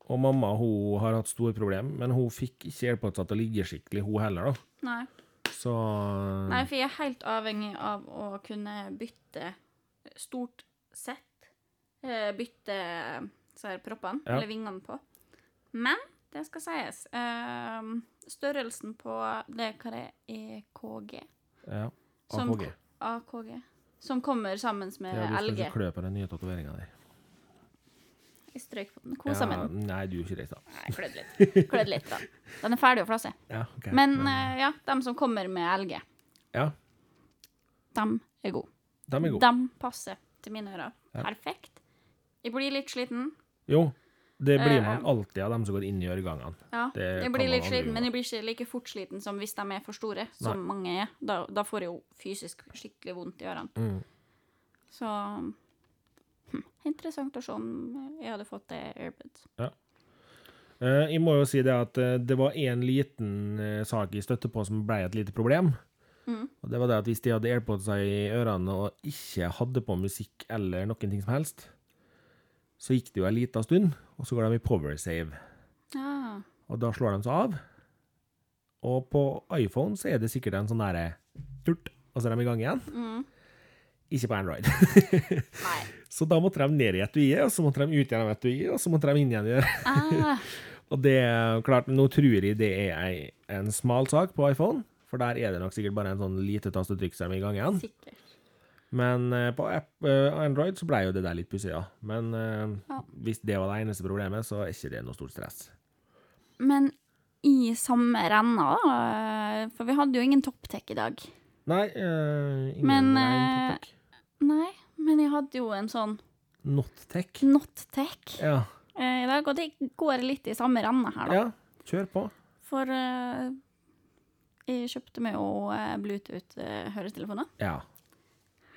Speaker 1: Og mamma hun har hatt store problemer, men hun fikk ikke AirPods til å ligge skikkelig, hun heller, da.
Speaker 2: Nei.
Speaker 1: Så Mm.
Speaker 2: Nei, for jeg er helt avhengig av å kunne bytte stort sett. eh, Bytte så her proppene,
Speaker 1: Ja.
Speaker 2: eller vingene på. Men det skal sies. ehm, størrelsen på det hva det er EKG
Speaker 1: ja.
Speaker 2: Som-
Speaker 1: AKG.
Speaker 2: AKG. Som kommer sammen med
Speaker 1: Ja, du skal
Speaker 2: LG.
Speaker 1: ikke klø på den nye tatoveringa di.
Speaker 2: Jeg strøk på den. Kosa med den.
Speaker 1: Nei, du gjorde ikke det.
Speaker 2: Nei, Klødde litt. Klødde litt, da. Den er ferdig å flasse.
Speaker 1: Ja, ok.
Speaker 2: Men eh, ja, dem som kommer med LG,
Speaker 1: Ja,
Speaker 2: dem er gode.
Speaker 1: de er gode.
Speaker 2: De passer til mine ører. Perfekt. Jeg blir litt sliten.
Speaker 1: Jo, det blir man
Speaker 2: Eh,
Speaker 1: alltid av dem som går inn i øregangene.
Speaker 2: Ja,
Speaker 1: Det
Speaker 2: jeg
Speaker 1: kan
Speaker 2: blir
Speaker 1: man
Speaker 2: litt
Speaker 1: aldri
Speaker 2: sliten, men
Speaker 1: unngå.
Speaker 2: jeg blir ikke like fort sliten som hvis de er for store, som mange er. Da, da får jeg jo fysisk skikkelig vondt i ørene.
Speaker 1: Mm.
Speaker 2: Så hm, interessant å se om jeg hadde fått det airbuds.
Speaker 1: Eh, Jeg må jo si det at eh, det var én liten eh, sak jeg støtte på som ble et lite problem.
Speaker 2: Mm.
Speaker 1: Og det var det at hvis de hadde AirPods i ørene og ikke hadde på musikk eller noen ting som helst, så gikk det jo en liten stund, og så går de i power save.
Speaker 2: Ja.
Speaker 1: Og da slår de seg av. Og på iPhone så er det sikkert en sånn derre turt, og så er de i gang igjen.
Speaker 2: Mm.
Speaker 1: Ikke på Android.
Speaker 2: Nei.
Speaker 1: Så da måtte de ned i etuiet, og så måtte de ut gjennom etuiet, og så måtte de inn igjen. i det.
Speaker 2: Ah,
Speaker 1: Og det er klart, nå tror jeg det er ei, en smal sak på iPhone, for der er det nok sikkert bare en sånn lite tastetrykk som er i gang igjen.
Speaker 2: sikkert.
Speaker 1: Men eh, på app, eh, Android så blei jo det der litt pussig, ja. Men eh,
Speaker 2: Ja.
Speaker 1: hvis det var det eneste problemet, så er ikke det noe stort stress.
Speaker 2: Men i samme renna, da, for vi hadde jo ingen topptek i dag.
Speaker 1: Nei, eh, ingen
Speaker 2: Men,
Speaker 1: nei, takk.
Speaker 2: Nei, men jeg hadde jo en sånn
Speaker 1: Not tech.
Speaker 2: not-tek
Speaker 1: Ja.
Speaker 2: eh, i dag, og det går litt i samme renna her, da.
Speaker 1: ja, kjør på.
Speaker 2: For eh, jeg kjøpte meg jo eh, Bluetooth-høretelefoner
Speaker 1: Ja.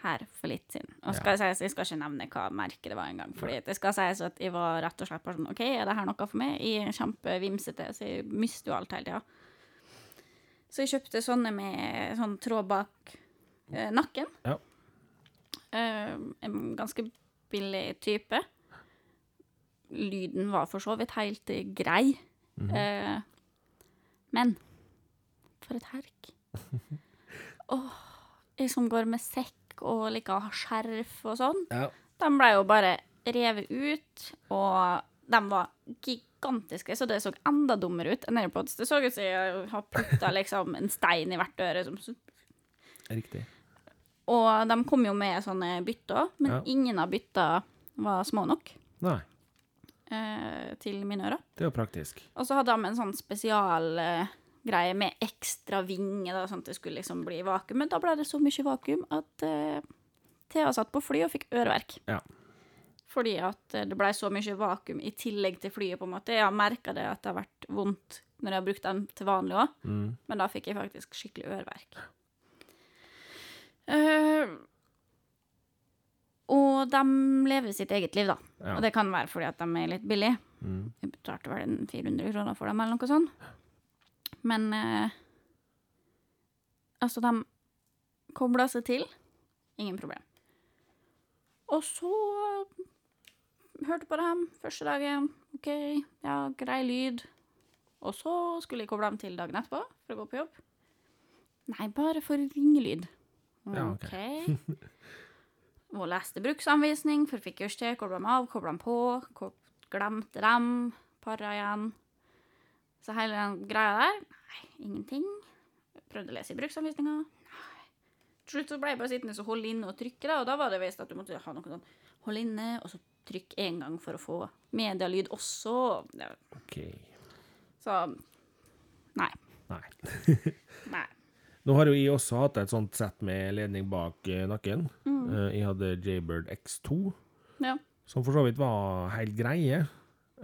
Speaker 2: her for litt siden. Og skal jeg, sies, jeg skal ikke nevne hva merket det var engang. Fordi det skal sies at jeg var rett og slett bare sånn OK, er det her noe for meg? Jeg er kjempevimsete, så jeg mister jo alt hele tida. Så jeg kjøpte sånne med sånn tråd bak eh, nakken.
Speaker 1: Ja.
Speaker 2: Eh, en ganske billig type. Lyden var for så vidt helt eh, grei. eh, men for et herk. Åh, jeg som går med sekk og liker å ha skjerf og sånn.
Speaker 1: ja.
Speaker 2: De ble jo bare revet ut, og de var gigantiske, så det så enda dummere ut enn AirPods. Det så ut som jeg har putta liksom en stein i hvert øre. Som,
Speaker 1: Riktig.
Speaker 2: og de kom jo med sånne bytter, men
Speaker 1: Ja.
Speaker 2: ingen av bytta var små nok
Speaker 1: Nei,
Speaker 2: eh, til mine ører.
Speaker 1: det er jo praktisk.
Speaker 2: Og så hadde de en sånn spesial eh, greie med ekstra vinge, da, sånn at det skulle liksom bli vakuum. Men da ble det så mye vakuum at eh, Thea satt på fly og fikk øreverk.
Speaker 1: Ja.
Speaker 2: Fordi at eh, det ble så mye vakuum i tillegg til flyet, på en måte. Jeg har merka det at det har vært vondt når jeg har brukt dem til vanlig òg,
Speaker 1: Mm.
Speaker 2: men da fikk jeg faktisk skikkelig øreverk. Eh, og de lever sitt eget liv, da.
Speaker 1: Ja.
Speaker 2: Og det kan være fordi at de er litt billige.
Speaker 1: Mm.
Speaker 2: Jeg betalte vel en 400 kroner for dem, eller noe sånt. Men eh, Altså, de kobla seg til. Ingen problem. Og så hørte på dem første dagen. OK, ja, grei lyd. Og så skulle jeg koble dem til dagen etterpå for å gå på jobb. Nei, bare for ringelyd.
Speaker 1: Ja, ok.
Speaker 2: ok. Og leste bruksanvisning, for fikk kurs til, kobla dem av, kobla dem på, ko- glemte dem, para igjen. Så hele den greia der Nei, ingenting. Prøvde å lese i bruksanvisninga. Nei. Til slutt så ble jeg bare sittende og holde inne og trykke, da, og da var det visst at du måtte ha noe sånn holde inne, og så trykk én gang for å få medialyd også. Det var-
Speaker 1: OK.
Speaker 2: Så Nei.
Speaker 1: Nei.
Speaker 2: Nei.
Speaker 1: Nå har jo jeg også hatt et sånt sett med ledning bak eh, nakken.
Speaker 2: Mm.
Speaker 1: Eh, Jeg hadde Jaybird X2,
Speaker 2: Ja.
Speaker 1: som for så vidt var helt greie.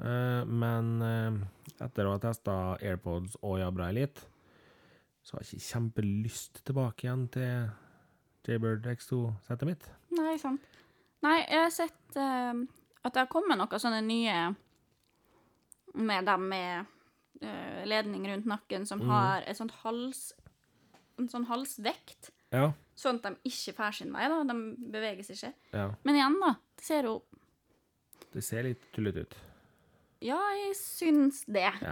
Speaker 1: Eh, Men eh, etter å ha testa AirPods og jabra ei litt, så har jeg ikke kjempelyst tilbake igjen til Jaybird X2-settet mitt.
Speaker 2: Nei, sant. Nei, jeg har sett eh, at det har kommet noen sånne nye med dem med eh, ledning rundt nakken som har et sånt hals, en sånn halsvekt,
Speaker 1: Ja.
Speaker 2: sånn at de ikke får sin vei. da, De beveges ikke.
Speaker 1: ja.
Speaker 2: Men igjen, da. Det ser jo
Speaker 1: Det ser litt tullete ut.
Speaker 2: Ja, jeg syns det.
Speaker 1: Ja.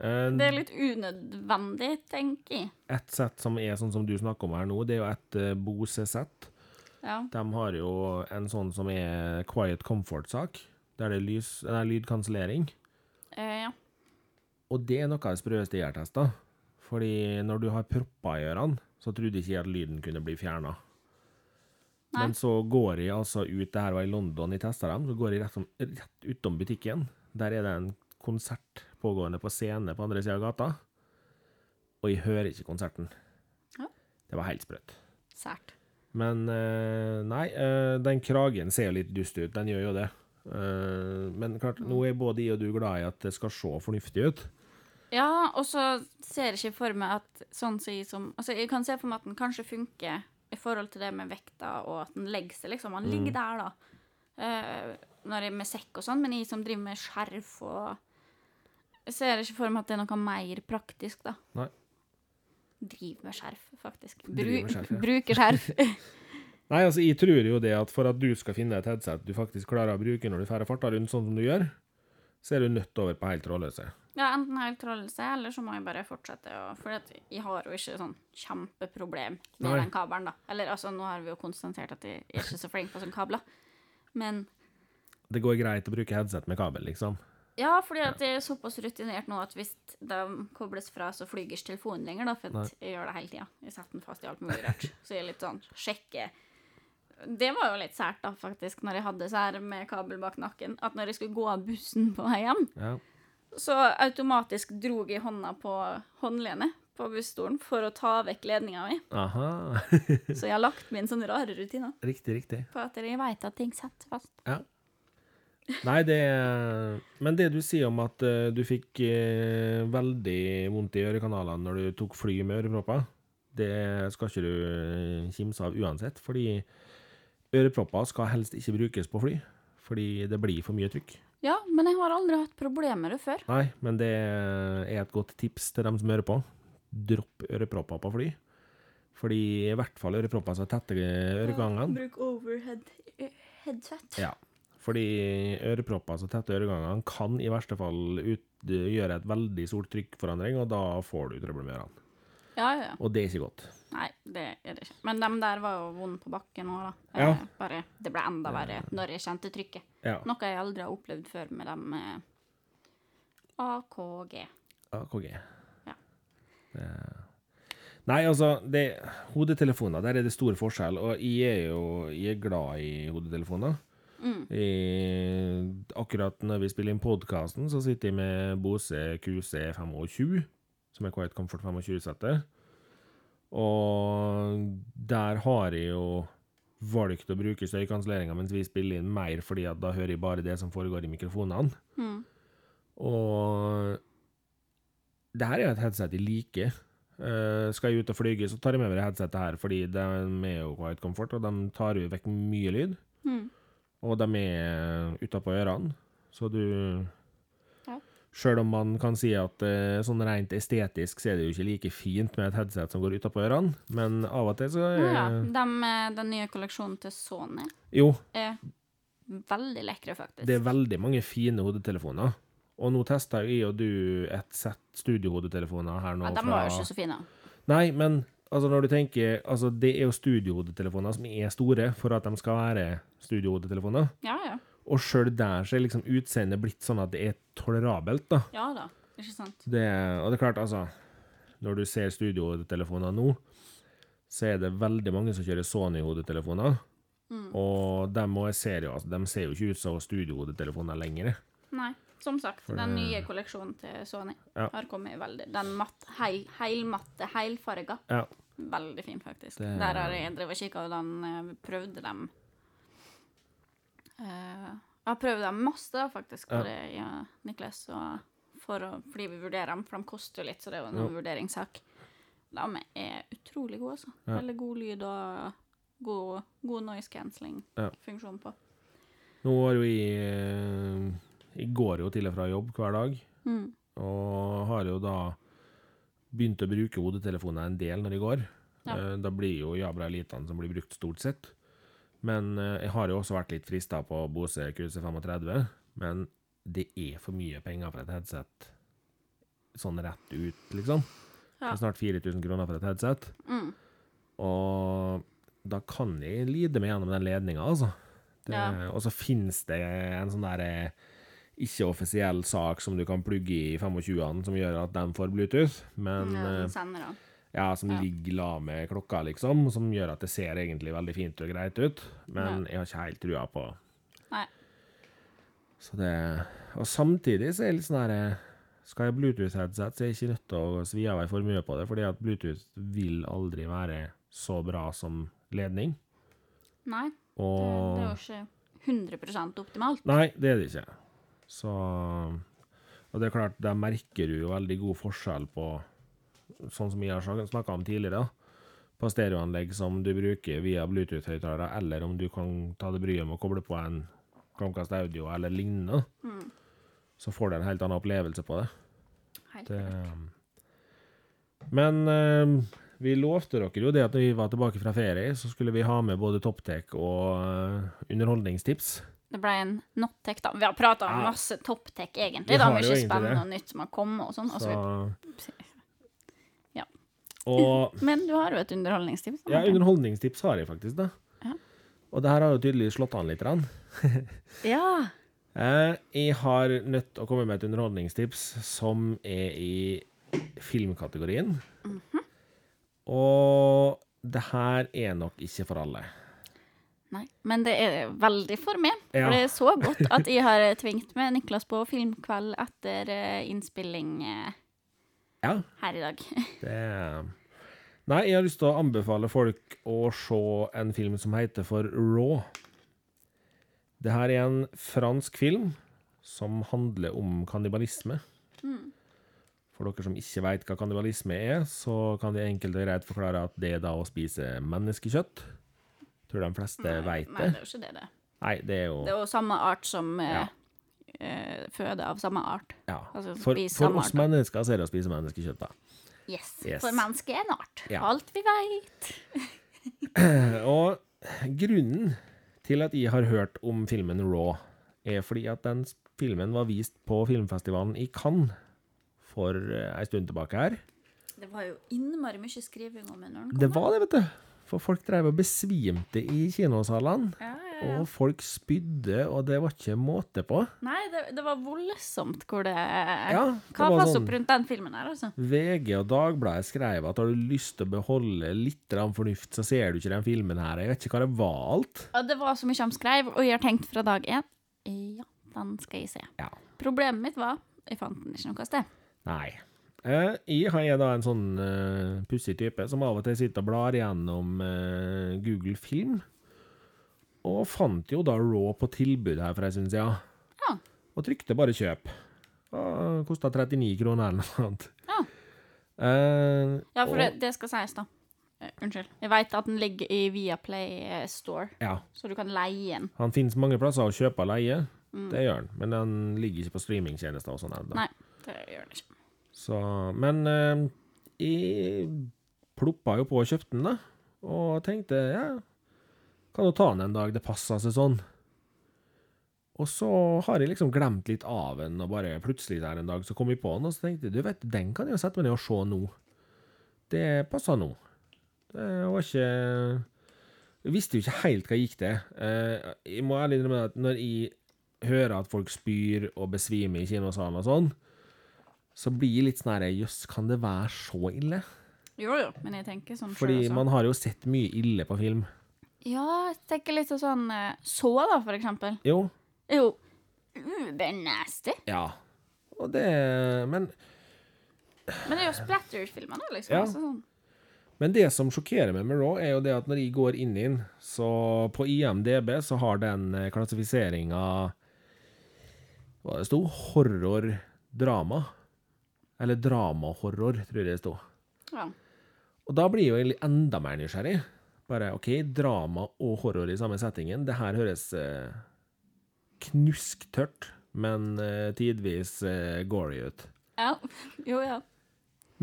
Speaker 1: Eh,
Speaker 2: Det er litt unødvendig, tenker jeg.
Speaker 1: Et sett som er sånn som du snakker om her nå, det er jo et eh, Bose-sett.
Speaker 2: Ja.
Speaker 1: De har jo en sånn som er quiet comfort-sak, der det er lys, nei, lydkansellering.
Speaker 2: Eh, ja.
Speaker 1: Og det er noe av det sprøeste jeg har testa. Fordi når du har propper i ørene, så trodde ikke jeg at lyden kunne bli fjerna.
Speaker 2: Nei.
Speaker 1: Men så går jeg altså ut Det her var i London jeg testa dem. Så går jeg rett, om, rett utom butikken. Der er det en konsert pågående på scene på andre sida av gata. Og jeg hører ikke konserten.
Speaker 2: Ja.
Speaker 1: Det var helt sprøtt.
Speaker 2: Sært.
Speaker 1: Men eh, nei, eh, den kragen ser jo litt dust ut. Den gjør jo det. Eh, men klart, nå er både jeg og du glad i at det skal se fornuftig ut.
Speaker 2: Ja, og så ser jeg ikke for meg at sånn som jeg som Altså, jeg kan se for meg at den kanskje funker i forhold til det med vekta, og at den legger seg, liksom. Han
Speaker 1: Mm.
Speaker 2: ligger der, da. Eh, når jeg er med sekk og sånn, men jeg som driver med skjerf og Jeg ser ikke for meg at det er noe mer praktisk, da.
Speaker 1: Nei.
Speaker 2: Driver med skjerf, faktisk. Bru
Speaker 1: Driver med skjerf, ja.
Speaker 2: Bruker skjerf.
Speaker 1: Nei, altså, jeg tror jo det at for at du skal finne et headset du faktisk klarer å bruke når du færre farta rundt sånn som du gjør, så er du nødt over på helt trådløse.
Speaker 2: ja, enten helt trollelse, eller så må jeg bare fortsette å For jeg har jo ikke sånn kjempeproblem med
Speaker 1: Nei.
Speaker 2: den kabelen, da. Eller altså, nå har vi jo konstatert at jeg er ikke så flink på sånne kabler. Men
Speaker 1: Det går greit å bruke headset med kabel, liksom.
Speaker 2: ja, fordi at jeg er såpass rutinert nå at hvis de kobles fra, så flyger ikke telefonen lenger, da. For at jeg gjør det hele tida. Jeg setter den fast i alt mulig rart. Så jeg er litt sånn sjekke. Det var jo litt sært, da, faktisk, når jeg hadde så her med kabel bak nakken, at når jeg skulle gå av bussen på vei hjem,
Speaker 1: Ja.
Speaker 2: så automatisk drog jeg hånda på håndlenet på busstolen for å ta vekk ledninga mi.
Speaker 1: Aha.
Speaker 2: Så jeg har lagt min sånne rare rutiner
Speaker 1: riktig, riktig.
Speaker 2: på at jeg veit at ting sitter fast.
Speaker 1: Ja. Nei, det Men det du sier om at eh, du fikk eh, veldig vondt i ørekanalene når du tok fly med ørepropper, det skal ikke du eh, kimse av uansett, fordi ørepropper skal helst ikke brukes på fly, fordi det blir for mye trykk.
Speaker 2: Ja, men jeg har aldri hatt problemer med det før.
Speaker 1: Nei, men det er et godt tips til dem som hører på. Dropp ørepropper på fly. Fordi i hvert fall ørepropper som tetter eh, øregangene.
Speaker 2: Bruk overhead headset.
Speaker 1: Ja, fordi ørepropper som tetter øregangene kan i verste fall ut, gjøre et veldig stort trykkforandring, og da får du trøbbel med ørene.
Speaker 2: Ja, ja, ja.
Speaker 1: Og det er ikke godt.
Speaker 2: Nei, det er det ikke. Men dem der var jo vond på bakken òg, da.
Speaker 1: Ja.
Speaker 2: Eh, Bare, det ble enda verre når jeg kjente trykket.
Speaker 1: Ja.
Speaker 2: Noe jeg aldri har opplevd før med dem eh, AKG.
Speaker 1: AKG.
Speaker 2: Ja.
Speaker 1: Det- Nei, altså, det, hodetelefoner, der er det stor forskjell, og jeg er jo jeg er glad i hodetelefoner.
Speaker 2: Mm.
Speaker 1: I, akkurat når vi spiller inn podkasten, så sitter jeg med Bose QC25, som er Quiet Comfort 25-settet. Og der har jeg jo valgt å bruke støykanselleringa mens vi spiller inn mer, fordi at da hører jeg bare det som foregår i mikrofonene.
Speaker 2: Mm.
Speaker 1: Og det her er jo et headset jeg liker. Eh, skal jeg ut og flyge, så tar jeg med meg det headsetet her, fordi de er jo quiet comfort, og de tar jo vekk mye lyd.
Speaker 2: Mm.
Speaker 1: Og de er utapå ørene, så du
Speaker 2: Ja.
Speaker 1: Sjøl om man kan si at eh, sånn rent estetisk så er det jo ikke like fint med et headset som går utapå ørene, men av og til så er,
Speaker 2: Ja, ja. Dem, eh, den nye kolleksjonen til Sony
Speaker 1: Jo,
Speaker 2: er veldig lekre, faktisk.
Speaker 1: det er veldig mange fine hodetelefoner. Og nå testa jeg og du et sett studiohodetelefoner her nå
Speaker 2: ja, de var jo ikke så fine.
Speaker 1: Nei, men Altså når du tenker, altså Det er jo studiohodetelefoner som er store for at de skal være studiohodetelefoner.
Speaker 2: Ja, ja.
Speaker 1: Og sjøl der så er liksom utseendet blitt sånn at det er tolerabelt. da.
Speaker 2: Ja da. Ikke sant?
Speaker 1: Det, og det er klart, altså Når du ser studiohodetelefoner nå, så er det veldig mange som kjører Sony-hodetelefoner. Og de må- ser, jo, altså, de ser jo ikke ut som studiohodetelefoner lenger.
Speaker 2: Nei. Som sagt, den nye kolleksjonen til Sony
Speaker 1: eh, Ja.
Speaker 2: har kommet veldig Den matt, heil, heilmatte, heilfarga.
Speaker 1: Ja.
Speaker 2: Veldig fin, faktisk.
Speaker 1: Det-
Speaker 2: Der har jeg drevet og kikka, og den eh, prøvde dem Eh, Jeg har prøvd dem masse, da, faktisk,
Speaker 1: Ja.
Speaker 2: både jeg og Niklas, og for å, fordi vi vurderer dem, for de koster jo litt, så det er jo en vurderingssak. De er utrolig gode, altså.
Speaker 1: Ja.
Speaker 2: Veldig god lyd og god, god noise
Speaker 1: Ja.
Speaker 2: cancelling-funksjon på.
Speaker 1: Nå var jo jeg Jeg går jo til og fra jobb hver dag,
Speaker 2: Mm.
Speaker 1: og har jo da begynt å bruke hodetelefoner en del når jeg går.
Speaker 2: Ja.
Speaker 1: Eh, Da blir jo jabra elitene som blir brukt stort sett. Men eh, jeg har jo også vært litt frista på Bose QC35, men det er for mye penger for et headset sånn rett ut, liksom. Det
Speaker 2: Ja.
Speaker 1: er snart 4000 kroner for et headset.
Speaker 2: Mm.
Speaker 1: Og da kan jeg lide meg gjennom den ledninga, altså. Det,
Speaker 2: Ja.
Speaker 1: Og så finnes det en sånn der eh, ikke-offisiell sak som du kan plugge i 25-an, som gjør at den får Bluetooth, men
Speaker 2: Ja,
Speaker 1: eh,
Speaker 2: den sender da.
Speaker 1: ja, som
Speaker 2: Ja.
Speaker 1: ligger la med klokka, liksom, som gjør at det ser egentlig veldig fint og greit ut, men jeg har ikke helt trua på
Speaker 2: Nei.
Speaker 1: Så det Og samtidig så er det litt sånn her eh, Skal jeg ha Bluetooth-headset, så er jeg ikke nødt til å svi av ei formue på det, fordi at Bluetooth vil aldri være så bra som ledning.
Speaker 2: Nei. Det, det er
Speaker 1: Og
Speaker 2: jo ikke 100 optimalt.
Speaker 1: Nei, det er det ikke. Så Og det er klart, der merker du jo veldig god forskjell på Sånn som jeg har snakka om tidligere, da. På stereoanlegg som du bruker via Bluetooth-høyttalere, eller om du kan ta det bryet med å koble på en Chromecast Audio eller lignende,
Speaker 2: Mm.
Speaker 1: så får du en helt annen opplevelse på det.
Speaker 2: Helt.
Speaker 1: det men eh, vi lovte dere jo det at når vi var tilbake fra ferie, så skulle vi ha med både topptek og eh, underholdningstips.
Speaker 2: Det ble en not-tech, da. Vi har prata om
Speaker 1: Ja.
Speaker 2: masse top-tech,
Speaker 1: Vi
Speaker 2: egentlig. Det er
Speaker 1: har
Speaker 2: mye
Speaker 1: jo egentlig
Speaker 2: spennende
Speaker 1: det.
Speaker 2: og nytt som har kommet, og sånn. og så
Speaker 1: Så
Speaker 2: Ja.
Speaker 1: Og
Speaker 2: vi- Men du har jo et underholdningstips. da,
Speaker 1: ja,
Speaker 2: Martin.
Speaker 1: underholdningstips har jeg faktisk, da.
Speaker 2: Ja.
Speaker 1: Og det her har jo tydeligvis slått an litt. grann.
Speaker 2: ja.
Speaker 1: Eh, Jeg har nødt til å komme med et underholdningstips som er i filmkategorien. Og det her er nok ikke for alle.
Speaker 2: Nei. Men det er veldig for meg.
Speaker 1: Ja.
Speaker 2: For det er så godt at jeg har eh, tvingt med Niklas på filmkveld etter eh, innspilling eh,
Speaker 1: Ja,
Speaker 2: her i dag.
Speaker 1: det er Nei, jeg har lyst til å anbefale folk å se en film som heter for Raw. Det her er en fransk film som handler om kannibalisme.
Speaker 2: Mm.
Speaker 1: For dere som ikke veit hva kannibalisme er, så kan vi enkelt og greit forklare at det er da å spise menneskekjøtt. Tror de fleste veit
Speaker 2: Nei,
Speaker 1: det.
Speaker 2: det er jo ikke det, det.
Speaker 1: Nei, det er jo
Speaker 2: Det er jo samme art som eh,
Speaker 1: Ja.
Speaker 2: eh, føde av samme art.
Speaker 1: ja.
Speaker 2: altså,
Speaker 1: For,
Speaker 2: spise
Speaker 1: for oss
Speaker 2: samme art.
Speaker 1: mennesker så er det å spise menneskekjøtt, da.
Speaker 2: Yes.
Speaker 1: Yes.
Speaker 2: For mennesket er en art.
Speaker 1: Ja.
Speaker 2: Alt vi veit.
Speaker 1: Og grunnen til at jeg har hørt om filmen Raw, er fordi at den filmen var vist på filmfestivalen i Cannes for eh, ei stund tilbake her.
Speaker 2: Det var jo innmari mye skriving om den.
Speaker 1: Det var det, vet du. For folk drev og besvimte i kinosalene.
Speaker 2: Ja, ja, ja.
Speaker 1: Og folk spydde, og det var ikke måte på.
Speaker 2: Nei, det, det var voldsomt hvor det
Speaker 1: Ja, det
Speaker 2: Hva
Speaker 1: var
Speaker 2: passer
Speaker 1: sånn.
Speaker 2: opp rundt den filmen her, altså?
Speaker 1: VG og Dagbladet skrev at har du lyst til å beholde litt grann fornuft, så ser du ikke den filmen her. Jeg vet ikke hva det var alt.
Speaker 2: Ja, det var så mye han skrev, og jeg har tenkt fra dag én Ja, den skal jeg se.
Speaker 1: Ja.
Speaker 2: Problemet mitt var jeg fant den ikke noe sted.
Speaker 1: Nei. Eh, jeg har jeg da en sånn eh, pussig type som av og til sitter og blar gjennom eh, Google Film, og fant jo da Raw på tilbud her for ei stund siden.
Speaker 2: Ja.
Speaker 1: Og trykte bare kjøp. Og Kosta 39 kroner eller noe annet.
Speaker 2: Ja.
Speaker 1: Eh,
Speaker 2: Ja, for
Speaker 1: og,
Speaker 2: det, det skal sies, da. Eh, unnskyld. Jeg veit at den ligger i Viaplay eh, Store,
Speaker 1: Ja.
Speaker 2: så du kan leie den.
Speaker 1: Han finnes mange plasser å kjøpe og leie. Det gjør han. Men den ligger ikke på streamingtjenester og sånn ennå.
Speaker 2: Nei, det gjør den ikke.
Speaker 1: Så, men eh, jeg ploppa jo på og kjøpte den, da. Og tenkte ja, kan jo ta den en dag, det passer seg sånn. Og så har jeg liksom glemt litt av den, og bare plutselig der en dag så kom jeg på den, og så tenkte jeg du vet, den kan jeg jo sette meg ned og se nå. Det passer nå. Det var ikke Jeg visste jo ikke helt hva jeg gikk til. Eh, Jeg må ærlig innrømme at når jeg hører at folk spyr og besvimer i kinosalen og sånn, så blir jeg litt sånn her Jøss, kan det være så ille?
Speaker 2: Jo, jo, men jeg tenker sånn selv
Speaker 1: Fordi
Speaker 2: også.
Speaker 1: man har jo sett mye ille på film.
Speaker 2: Ja, jeg tenker litt sånn eh, Så, da, for eksempel.
Speaker 1: Jo,
Speaker 2: er Jo, ubernasty.
Speaker 1: ja. Og det Men
Speaker 2: Men det er jo splatter-filmer, da, liksom.
Speaker 1: Ja.
Speaker 2: Altså, sånn.
Speaker 1: Men det som sjokkerer meg med Raw, er jo det at når jeg går inn i den, så på IMDb så har den klassifiseringa Hva det sto? Horror-drama. Eller drama-horror, tror jeg det sto.
Speaker 2: ja.
Speaker 1: Og da blir jeg jo egentlig enda mer nysgjerrig. Bare OK, drama og horror i samme settingen. Det her høres eh, knusktørt, men eh, tidvis eh, gory ut.
Speaker 2: ja. Jo, ja.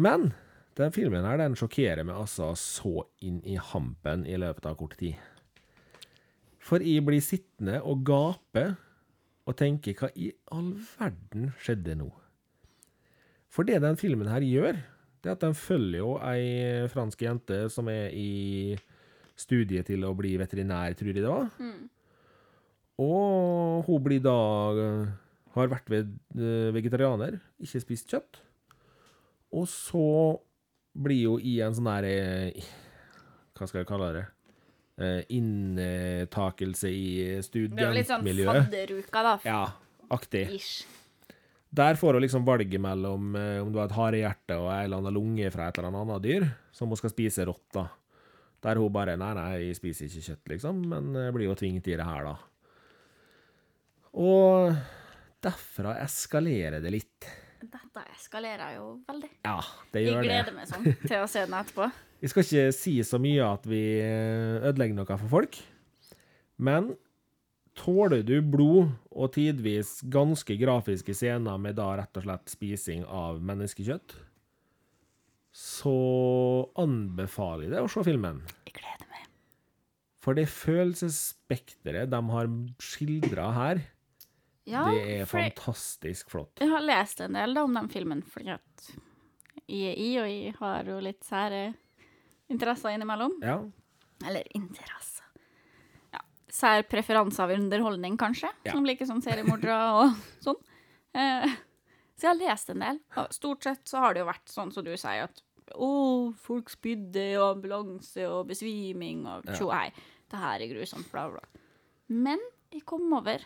Speaker 1: Men den filmen her, den sjokkerer meg altså så inn i hampen i løpet av kort tid. For jeg blir sittende og gape og tenke hva i all verden skjedde nå? For det den filmen her gjør, det er at den følger jo ei fransk jente som er i studiet til å bli veterinær, tror jeg det var.
Speaker 2: Mm.
Speaker 1: Og hun blir da har vært ved- eh, vegetarianer, ikke spist kjøtt. Og så blir jo i en sånn der eh, Hva skal jeg kalle det? Eh, Inntakelse i
Speaker 2: Det er jo litt sånn
Speaker 1: studentmiljøet.
Speaker 2: fadderuka, da.
Speaker 1: Ja, aktig.
Speaker 2: Ish.
Speaker 1: Der får hun liksom valget mellom eh, om du har et harehjerte og ei eller anna lunge fra et eller annet annet dyr, som hun skal spise rått, da. Der hun bare Nei, nei, jeg spiser ikke kjøtt, liksom, men eh, blir jo tvinget i det her, da. Og derfra eskalerer det litt.
Speaker 2: Dette eskalerer jo veldig.
Speaker 1: Ja, det
Speaker 2: Jeg
Speaker 1: gjør det.
Speaker 2: gleder meg sånn til å se den etterpå.
Speaker 1: Vi skal ikke si så mye at vi eh, ødelegger noe for folk, men tåler du blod og tidvis ganske grafiske scener med da rett og slett spising av menneskekjøtt, så anbefaler jeg deg å se filmen.
Speaker 2: Jeg gleder meg.
Speaker 1: For det følelsesspekteret de har skildra her,
Speaker 2: Ja,
Speaker 1: det er
Speaker 2: for jeg,
Speaker 1: fantastisk flott.
Speaker 2: jeg har lest en del da, om den filmen, fordi at jeg er i, og jeg har jo litt sære interesser innimellom.
Speaker 1: Ja.
Speaker 2: Eller interesser. Ja, sær preferanse av underholdning, kanskje,
Speaker 1: Ja.
Speaker 2: som liker sånn seriemordere og sånn. Eh, så jeg har lest en del. Og stort sett så har det jo vært sånn som du sier, at å, folk spydde, og ambulanse, og besviming, og tjo hei. Det her er grusomt, bla, bla. Men jeg kom over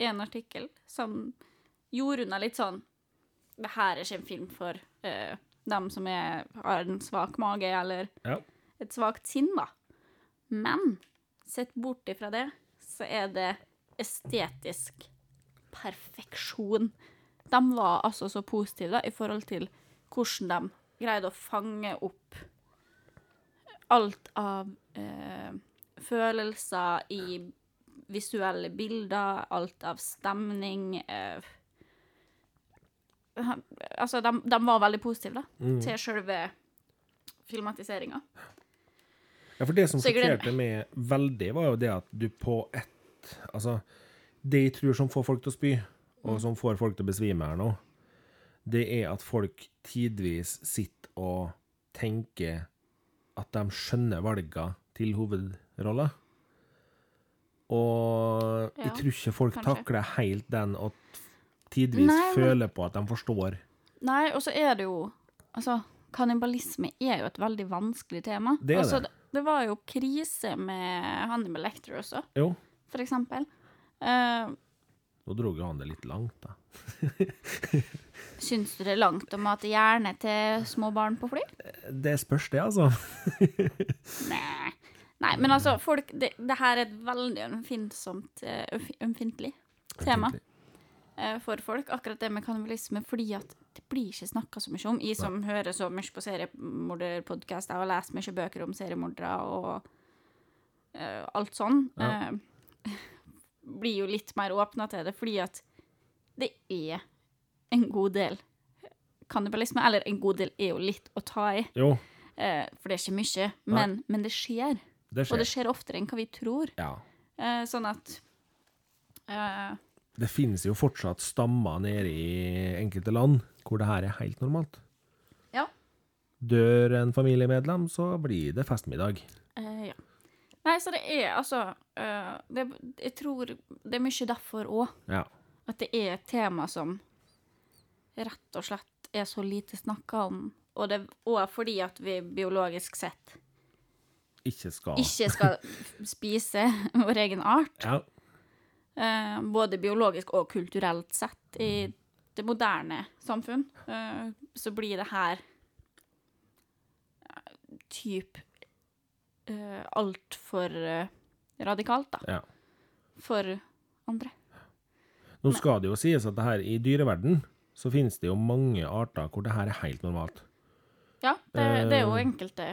Speaker 2: en artikkel som gjorde unna litt sånn Det her er ikke en film for eh, dem som er, har en svak mage, eller
Speaker 1: ja.
Speaker 2: et svakt sinn, da. Men sett bort ifra det, så er det estetisk perfeksjon. De var altså så positive da, i forhold til hvordan de greide å fange opp alt av eh, følelser i visuelle bilder, alt av stemning eh, Altså, de, de var veldig positive da, til sjølve filmatiseringa.
Speaker 1: Ja, for det som
Speaker 2: Så jeg gleder
Speaker 1: sjokkerte meg veldig, var jo det at du på ett Altså, det jeg tror som får folk til å spy,
Speaker 2: Mm.
Speaker 1: og som får folk til å besvime her nå, det er at folk tidvis sitter og tenker at de skjønner valga til hovedrolla. Og
Speaker 2: Ja,
Speaker 1: jeg tror ikke folk
Speaker 2: kanskje.
Speaker 1: takler helt den og tidvis
Speaker 2: Nei, men-
Speaker 1: føler på at de forstår.
Speaker 2: Nei, og så er det jo Altså, kannibalisme er jo et veldig vanskelig tema.
Speaker 1: Det er
Speaker 2: altså,
Speaker 1: det.
Speaker 2: det var jo krise med Hannibal Lecter også,
Speaker 1: Jo,
Speaker 2: for eksempel. Eh,
Speaker 1: nå dro jo han det litt langt, da.
Speaker 2: syns du det er langt å mate hjerne til små barn på fly?
Speaker 1: Det spørs, det, altså.
Speaker 2: Nei. Nei, men altså, folk Det, det her er et veldig ømfintsomt eh, ømf- Ømfintlig tema eh, for folk, akkurat det med kannibalisme, fordi at det blir ikke snakka så mye om. Jeg som hører så mye på seriemorderpodkaster og leser mye bøker om seriemordere og eh, alt sånn,
Speaker 1: Ja.
Speaker 2: eh, blir jo litt mer åpna til det, fordi at det er en god del kannibalisme. Eller en god del er jo litt å ta i,
Speaker 1: Jo,
Speaker 2: eh, for det er ikke mye,
Speaker 1: Nei.
Speaker 2: men, men det skjer.
Speaker 1: det
Speaker 2: Og
Speaker 1: skjer.
Speaker 2: det skjer oftere enn hva vi tror.
Speaker 1: Ja.
Speaker 2: Eh, sånn at eh,
Speaker 1: Det finnes jo fortsatt stammer nede i enkelte land hvor det her er helt normalt.
Speaker 2: Ja.
Speaker 1: Dør en familiemedlem, så blir det festmiddag.
Speaker 2: Eh, ja. Nei, så det er altså eh, det, Jeg tror det er mye derfor òg.
Speaker 1: Ja.
Speaker 2: At det er et tema som rett og slett er så lite snakka om. Og det òg fordi at vi biologisk sett
Speaker 1: Ikke skal
Speaker 2: ikke skal spise vår egen art.
Speaker 1: Ja.
Speaker 2: eh, både biologisk og kulturelt sett i det moderne samfunn, eh, så blir det her eh, typ eh, altfor eh, radikalt, da.
Speaker 1: ja.
Speaker 2: For andre.
Speaker 1: Nå skal det jo sies at det her i dyreverden så finnes det jo mange arter hvor det her er helt normalt.
Speaker 2: Ja, det,
Speaker 1: Eh.
Speaker 2: det er jo enkelte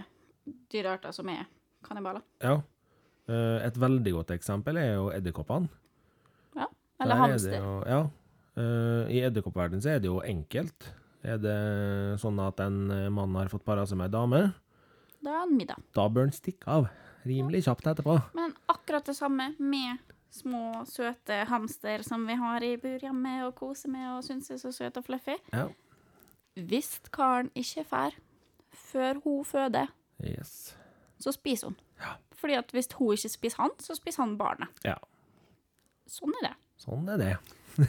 Speaker 2: dyrearter som er kannibaler.
Speaker 1: Ja. Eh, Et veldig godt eksempel er jo edderkoppene.
Speaker 2: Ja.
Speaker 1: Der er
Speaker 2: Eller
Speaker 1: det
Speaker 2: hamster.
Speaker 1: jo- Ja. Eh, I edderkoppverdenen så er det jo enkelt. Er det sånn at en eh, mann har fått para seg med ei dame,
Speaker 2: Det er en middag.
Speaker 1: da bør han stikke av. Rimelig kjapt etterpå.
Speaker 2: Men akkurat det samme med små, søte hamster som vi har i bur hjemme og koser med og syns er så søt og fluffy.
Speaker 1: Ja.
Speaker 2: Hvis karen ikke fær før hun føder,
Speaker 1: Yes.
Speaker 2: så spiser hun.
Speaker 1: Ja.
Speaker 2: Fordi at hvis hun ikke spiser han, så spiser han barnet.
Speaker 1: Ja.
Speaker 2: Sånn er det.
Speaker 1: Sånn er det.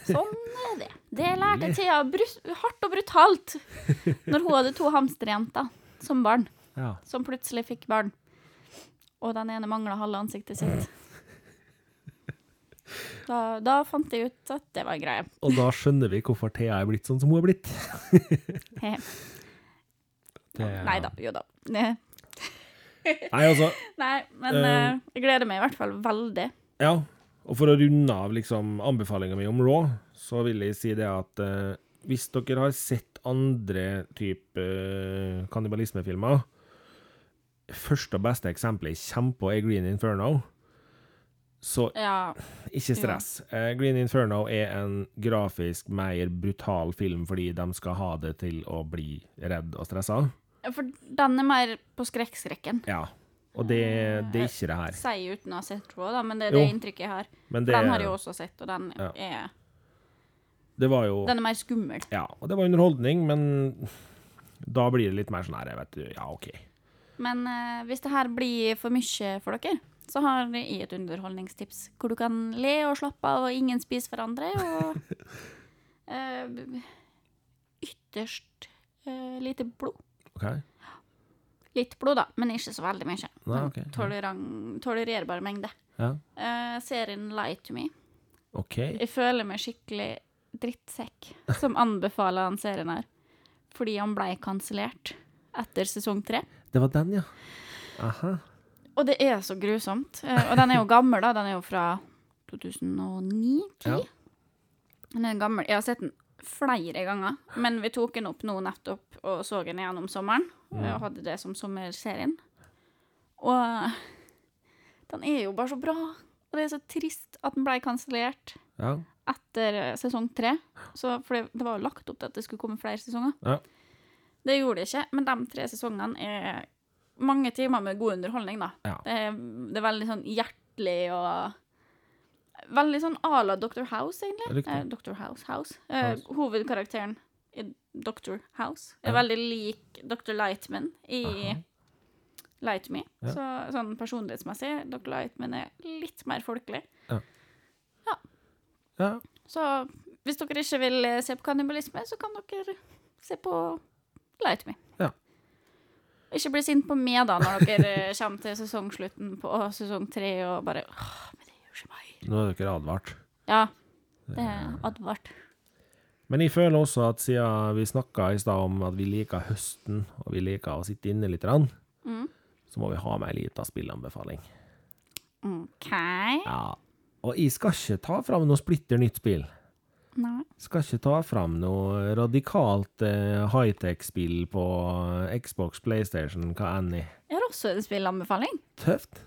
Speaker 2: Sånn er det. Det lærte Thea brus- hardt og brutalt når hun hadde to hamsterjenter som barn,
Speaker 1: Ja.
Speaker 2: som plutselig fikk barn. Og den ene mangla halve ansiktet sitt. Da, da fant jeg ut at det var greia.
Speaker 1: Og da skjønner vi hvorfor Thea er blitt sånn som hun er blitt. Det-
Speaker 2: Nei da, jo da. Nei,
Speaker 1: Nei, altså,
Speaker 2: men eh, jeg gleder meg i hvert fall veldig.
Speaker 1: Ja, og for å runde av liksom, anbefalinga mi om Raw, så vil jeg si det at eh, hvis dere har sett andre type eh, kannibalismefilmer Første og beste eksempelet jeg kommer på, er Green Inferno. Så
Speaker 2: Ja.
Speaker 1: ikke stress. Eh, Green Inferno er en grafisk mer brutal film fordi de skal ha det til å bli redd og stressa.
Speaker 2: Ja, For den er mer på skrekkskrekken.
Speaker 1: Ja. Og det, det er ikke det her.
Speaker 2: Sier uten å ha sett Raw, da, men det er
Speaker 1: Jo.
Speaker 2: det inntrykket jeg har.
Speaker 1: Men
Speaker 2: For
Speaker 1: det,
Speaker 2: den har jeg også sett, og den
Speaker 1: Ja.
Speaker 2: er
Speaker 1: det var jo
Speaker 2: Den er mer skummel.
Speaker 1: Ja, og det var underholdning, men da blir det litt mer sånn her, jeg vet du, ja, ok.
Speaker 2: Men eh, hvis det her blir for mye for dere, så har jeg et underholdningstips hvor du kan le og slappe av, og ingen spiser hverandre, og eh, b- Ytterst eh, lite blod.
Speaker 1: Ok,
Speaker 2: Litt blod, da, men ikke så veldig mye.
Speaker 1: Nei,
Speaker 2: En
Speaker 1: ok, ja.
Speaker 2: toleran- Tolererbar mengde.
Speaker 1: ja.
Speaker 2: Eh, serien Lie to Me.
Speaker 1: Ok,
Speaker 2: Jeg føler meg skikkelig drittsekk som anbefaler den serien her. Fordi han blei kansellert etter sesong tre.
Speaker 1: det var den, ja. Aha.
Speaker 2: Og det er så grusomt. Eh, Og den er jo gammel, da. Den er jo fra 2009?
Speaker 1: Ja.
Speaker 2: Den er gammel. Jeg har sett den flere ganger, men vi tok den opp nå nettopp og så den igjen om sommeren. Og hadde det som sommerserien. Og den er jo bare så bra. Og det er så trist at den blei kansellert.
Speaker 1: Ja,
Speaker 2: etter eh, sesong tre. Så, for det, det var jo lagt opp til at det skulle komme flere sesonger.
Speaker 1: Ja.
Speaker 2: Det gjorde det ikke, men de tre sesongene er mange timer med god underholdning, da.
Speaker 1: Ja.
Speaker 2: Det, er, det er veldig sånn hjertelig og Veldig sånn à la Dr. House, egentlig. Eh,
Speaker 1: riktig.
Speaker 2: Dr. House, House. Eh,
Speaker 1: House.
Speaker 2: hovedkarakteren i Dr. House er
Speaker 1: Ja.
Speaker 2: veldig lik Dr. Lightman i
Speaker 1: Aha.
Speaker 2: Light Me.
Speaker 1: Ja.
Speaker 2: Så, sånn personlighetsmessig, Dr. Lightman er litt mer folkelig.
Speaker 1: Ja,
Speaker 2: Så hvis dere ikke vil eh, se på kannibalisme, så kan dere se på Lie to me.
Speaker 1: Ja.
Speaker 2: Ikke bli sint på meg da, når dere eh, kommer til sesongslutten på sesong tre og bare Åh, men det gjør ikke meg.
Speaker 1: nå er dere advart.
Speaker 2: Ja. Det er advart.
Speaker 1: Men jeg føler også at siden vi snakket i sted om at vi liker høsten, og vi liker å sitte inne litt, grann,
Speaker 2: Mm.
Speaker 1: så må vi ha med en liten spillanbefaling.
Speaker 2: OK.
Speaker 1: Ja, og jeg skal ikke ta fram noe splitter nytt spill.
Speaker 2: Nei.
Speaker 1: Skal ikke ta fram noe radikalt eh, high-tech-spill på Xbox, Playstation, hva enn i.
Speaker 2: Jeg har også en spillanbefaling.
Speaker 1: Tøft.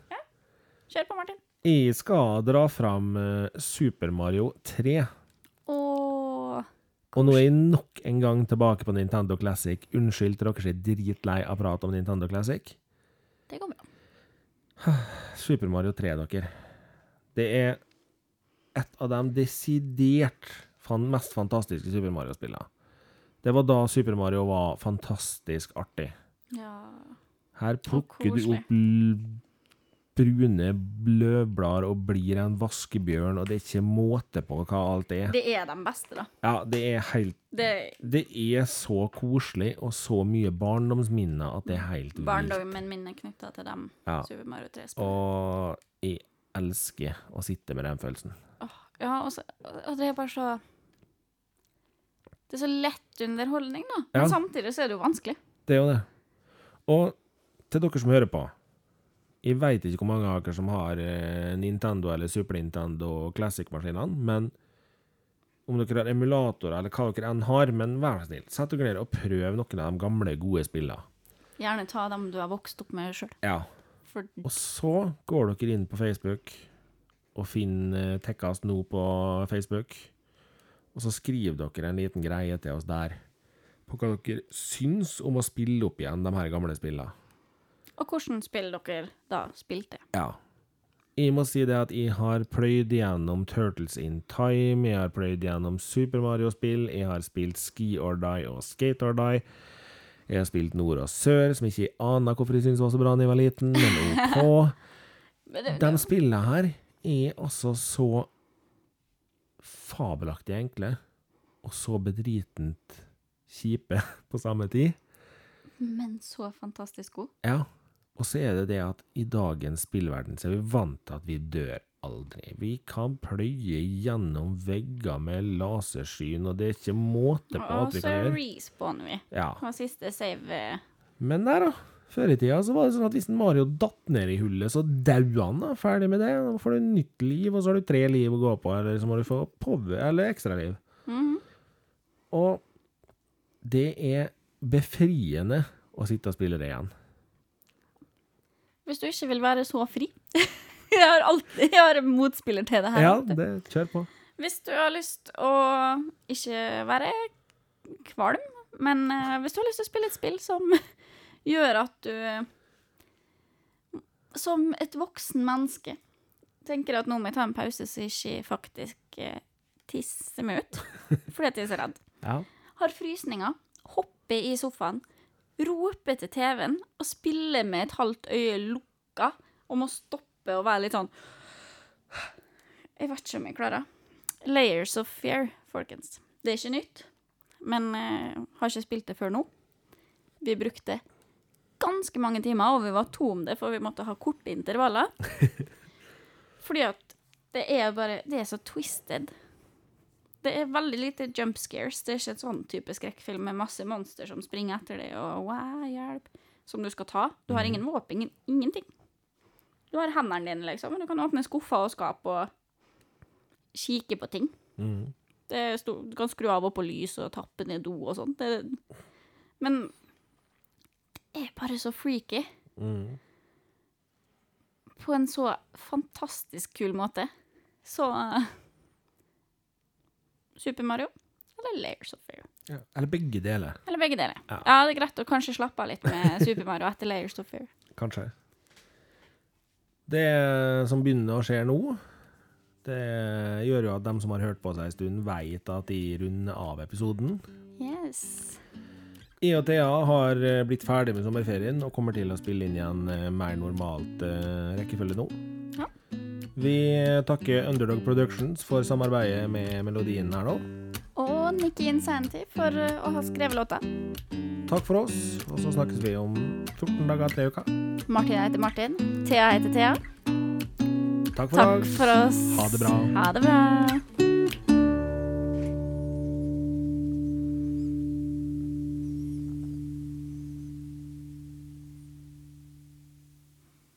Speaker 2: Kjør på, Martin.
Speaker 1: Jeg skal dra fram eh, Super Mario 3.
Speaker 2: Og
Speaker 1: Og nå er jeg nok en gang tilbake på Nintendo Classic. Unnskyld til dere som er dritlei av prat om Nintendo Classic.
Speaker 2: det går bra.
Speaker 1: Super Mario 3, dere. Det er et av de desidert fan mest fantastiske Super Mario-spillene. Det var da Super Mario var fantastisk artig.
Speaker 2: Ja.
Speaker 1: Her plukker du
Speaker 2: koselig.
Speaker 1: opp l- brune løvblader og blir en vaskebjørn, og det er ikke måte på hva alt er.
Speaker 2: Det er de beste, da.
Speaker 1: Ja, det er helt
Speaker 2: Det
Speaker 1: Det er så koselig og så mye barndomsminner at det er helt vilt.
Speaker 2: Barndommen min er knytta til dem.
Speaker 1: Ja.
Speaker 2: Super Mario 3 spillet
Speaker 1: Og jeg elsker å sitte med den følelsen.
Speaker 2: Ja, og, så, og det er bare så Det er så lett underholdning, da. Men
Speaker 1: Ja.
Speaker 2: samtidig så er det jo vanskelig.
Speaker 1: Det er jo det. Og til dere som hører på Jeg veit ikke hvor mange av dere som har eh, Nintendo eller Super Nintendo Classic-maskinene, men om dere har emulatorer eller hva dere enn har, men vær så snill, sett dere ned og prøv noen av de gamle, gode spillene.
Speaker 2: Gjerne ta dem du har vokst opp med sjøl.
Speaker 1: Ja.
Speaker 2: For
Speaker 1: Og så går dere inn på Facebook og finner eh, Tekkast nå på Facebook. Og så skriver dere en liten greie til oss der på hva dere syns om å spille opp igjen de her gamle spillene.
Speaker 2: Og hvordan spill dere da spilte.
Speaker 1: Ja. Jeg må si det at jeg har pløyd gjennom Turtles in Time, jeg har pløyd gjennom Super Mario-spill, jeg har spilt Ski or Die og Skate or Die. Jeg har spilt Nord og Sør, som ikke jeg aner hvorfor jeg syntes var så bra da jeg var liten, men OK.
Speaker 2: Men det,
Speaker 1: De spillene her er altså så fabelaktig enkle, og så bedritent kjipe på samme tid.
Speaker 2: men så fantastisk god.
Speaker 1: Ja. Og så er det det at i dagens spillverden så er vi vant til at vi dør aldri. Vi kan pløye gjennom vegger med lasersyn, og det er ikke måte på
Speaker 2: Og
Speaker 1: at vi
Speaker 2: så
Speaker 1: kan gjøre.
Speaker 2: respawner vi.
Speaker 1: Ja.
Speaker 2: Og siste save eh,
Speaker 1: Men der, da. Før i tida så var det sånn at hvis en Mario datt ned i hullet, så daua han. da, Ferdig med det. Da får du nytt liv, og så har du tre liv å gå på, eller så må du få pove, eller ekstraliv.
Speaker 2: mhm.
Speaker 1: Og det er befriende å sitte og spille det igjen.
Speaker 2: Hvis du ikke vil være så fri Jeg har alltid jeg har en motspiller til det her.
Speaker 1: Ja,
Speaker 2: vet du.
Speaker 1: det kjør på.
Speaker 2: Hvis du har lyst å ikke være kvalm, men eh, hvis du har lyst til å spille et spill som gjør at du eh, Som et voksen menneske tenker at nå må jeg ta en pause så jeg ikke faktisk eh, tisser meg ut fordi at jeg er så redd.
Speaker 1: Ja.
Speaker 2: Har frysninger, hopper i sofaen, roper til TV-en og spiller med et halvt øye lukka og må stoppe og være litt sånn Jeg vet ikke om jeg klarer. Layers of fear, folkens. Det er ikke nytt, men eh, har ikke spilt det før nå. Vi brukte ganske mange timer, og vi var to om det, for vi måtte ha korte intervaller. Fordi at det er bare Det er så twisted. Det er veldig lite jump scares. Det er ikke en sånn type skrekkfilm med masse monster som springer etter deg og wow, hjelp, som du skal ta. Du har ingen våpen, ingen, ingenting. Du har hendene dine, liksom, men du kan åpne skuffer og skap og kikke på ting.
Speaker 1: Mhm.
Speaker 2: Det er stor, du kan skru av og på lys og tappe ned do og sånt. Det, men det er bare så freaky
Speaker 1: Mhm.
Speaker 2: på en så fantastisk kul måte. Så eh, Super Mario eller Layers of Fear?
Speaker 1: Ja. Eller begge deler,
Speaker 2: Eller begge deler.
Speaker 1: Ja.
Speaker 2: Ja, det er greit å kanskje slappe av litt med Super Mario etter Layers of Fear.
Speaker 1: kanskje. Det som begynner å skje nå, det gjør jo at de som har hørt på seg en stund, veit at de runder av episoden.
Speaker 2: Yes.
Speaker 1: Jeg og Thea har eh, blitt ferdig med sommerferien og kommer til å spille inn igjen eh, mer normalt eh, rekkefølge nå.
Speaker 2: Ja.
Speaker 1: Vi takker Underdog Productions for samarbeidet med melodien her nå.
Speaker 2: Og Nikki Insanity for eh, å ha skrevet låta.
Speaker 1: Takk for oss, og så snakkes vi om 14 dager til uka.
Speaker 2: Martin heter Martin. Thea heter Thea.
Speaker 1: Takk for
Speaker 2: Takk
Speaker 1: oss.
Speaker 2: for oss.
Speaker 1: Ha det bra.
Speaker 2: Ha det bra.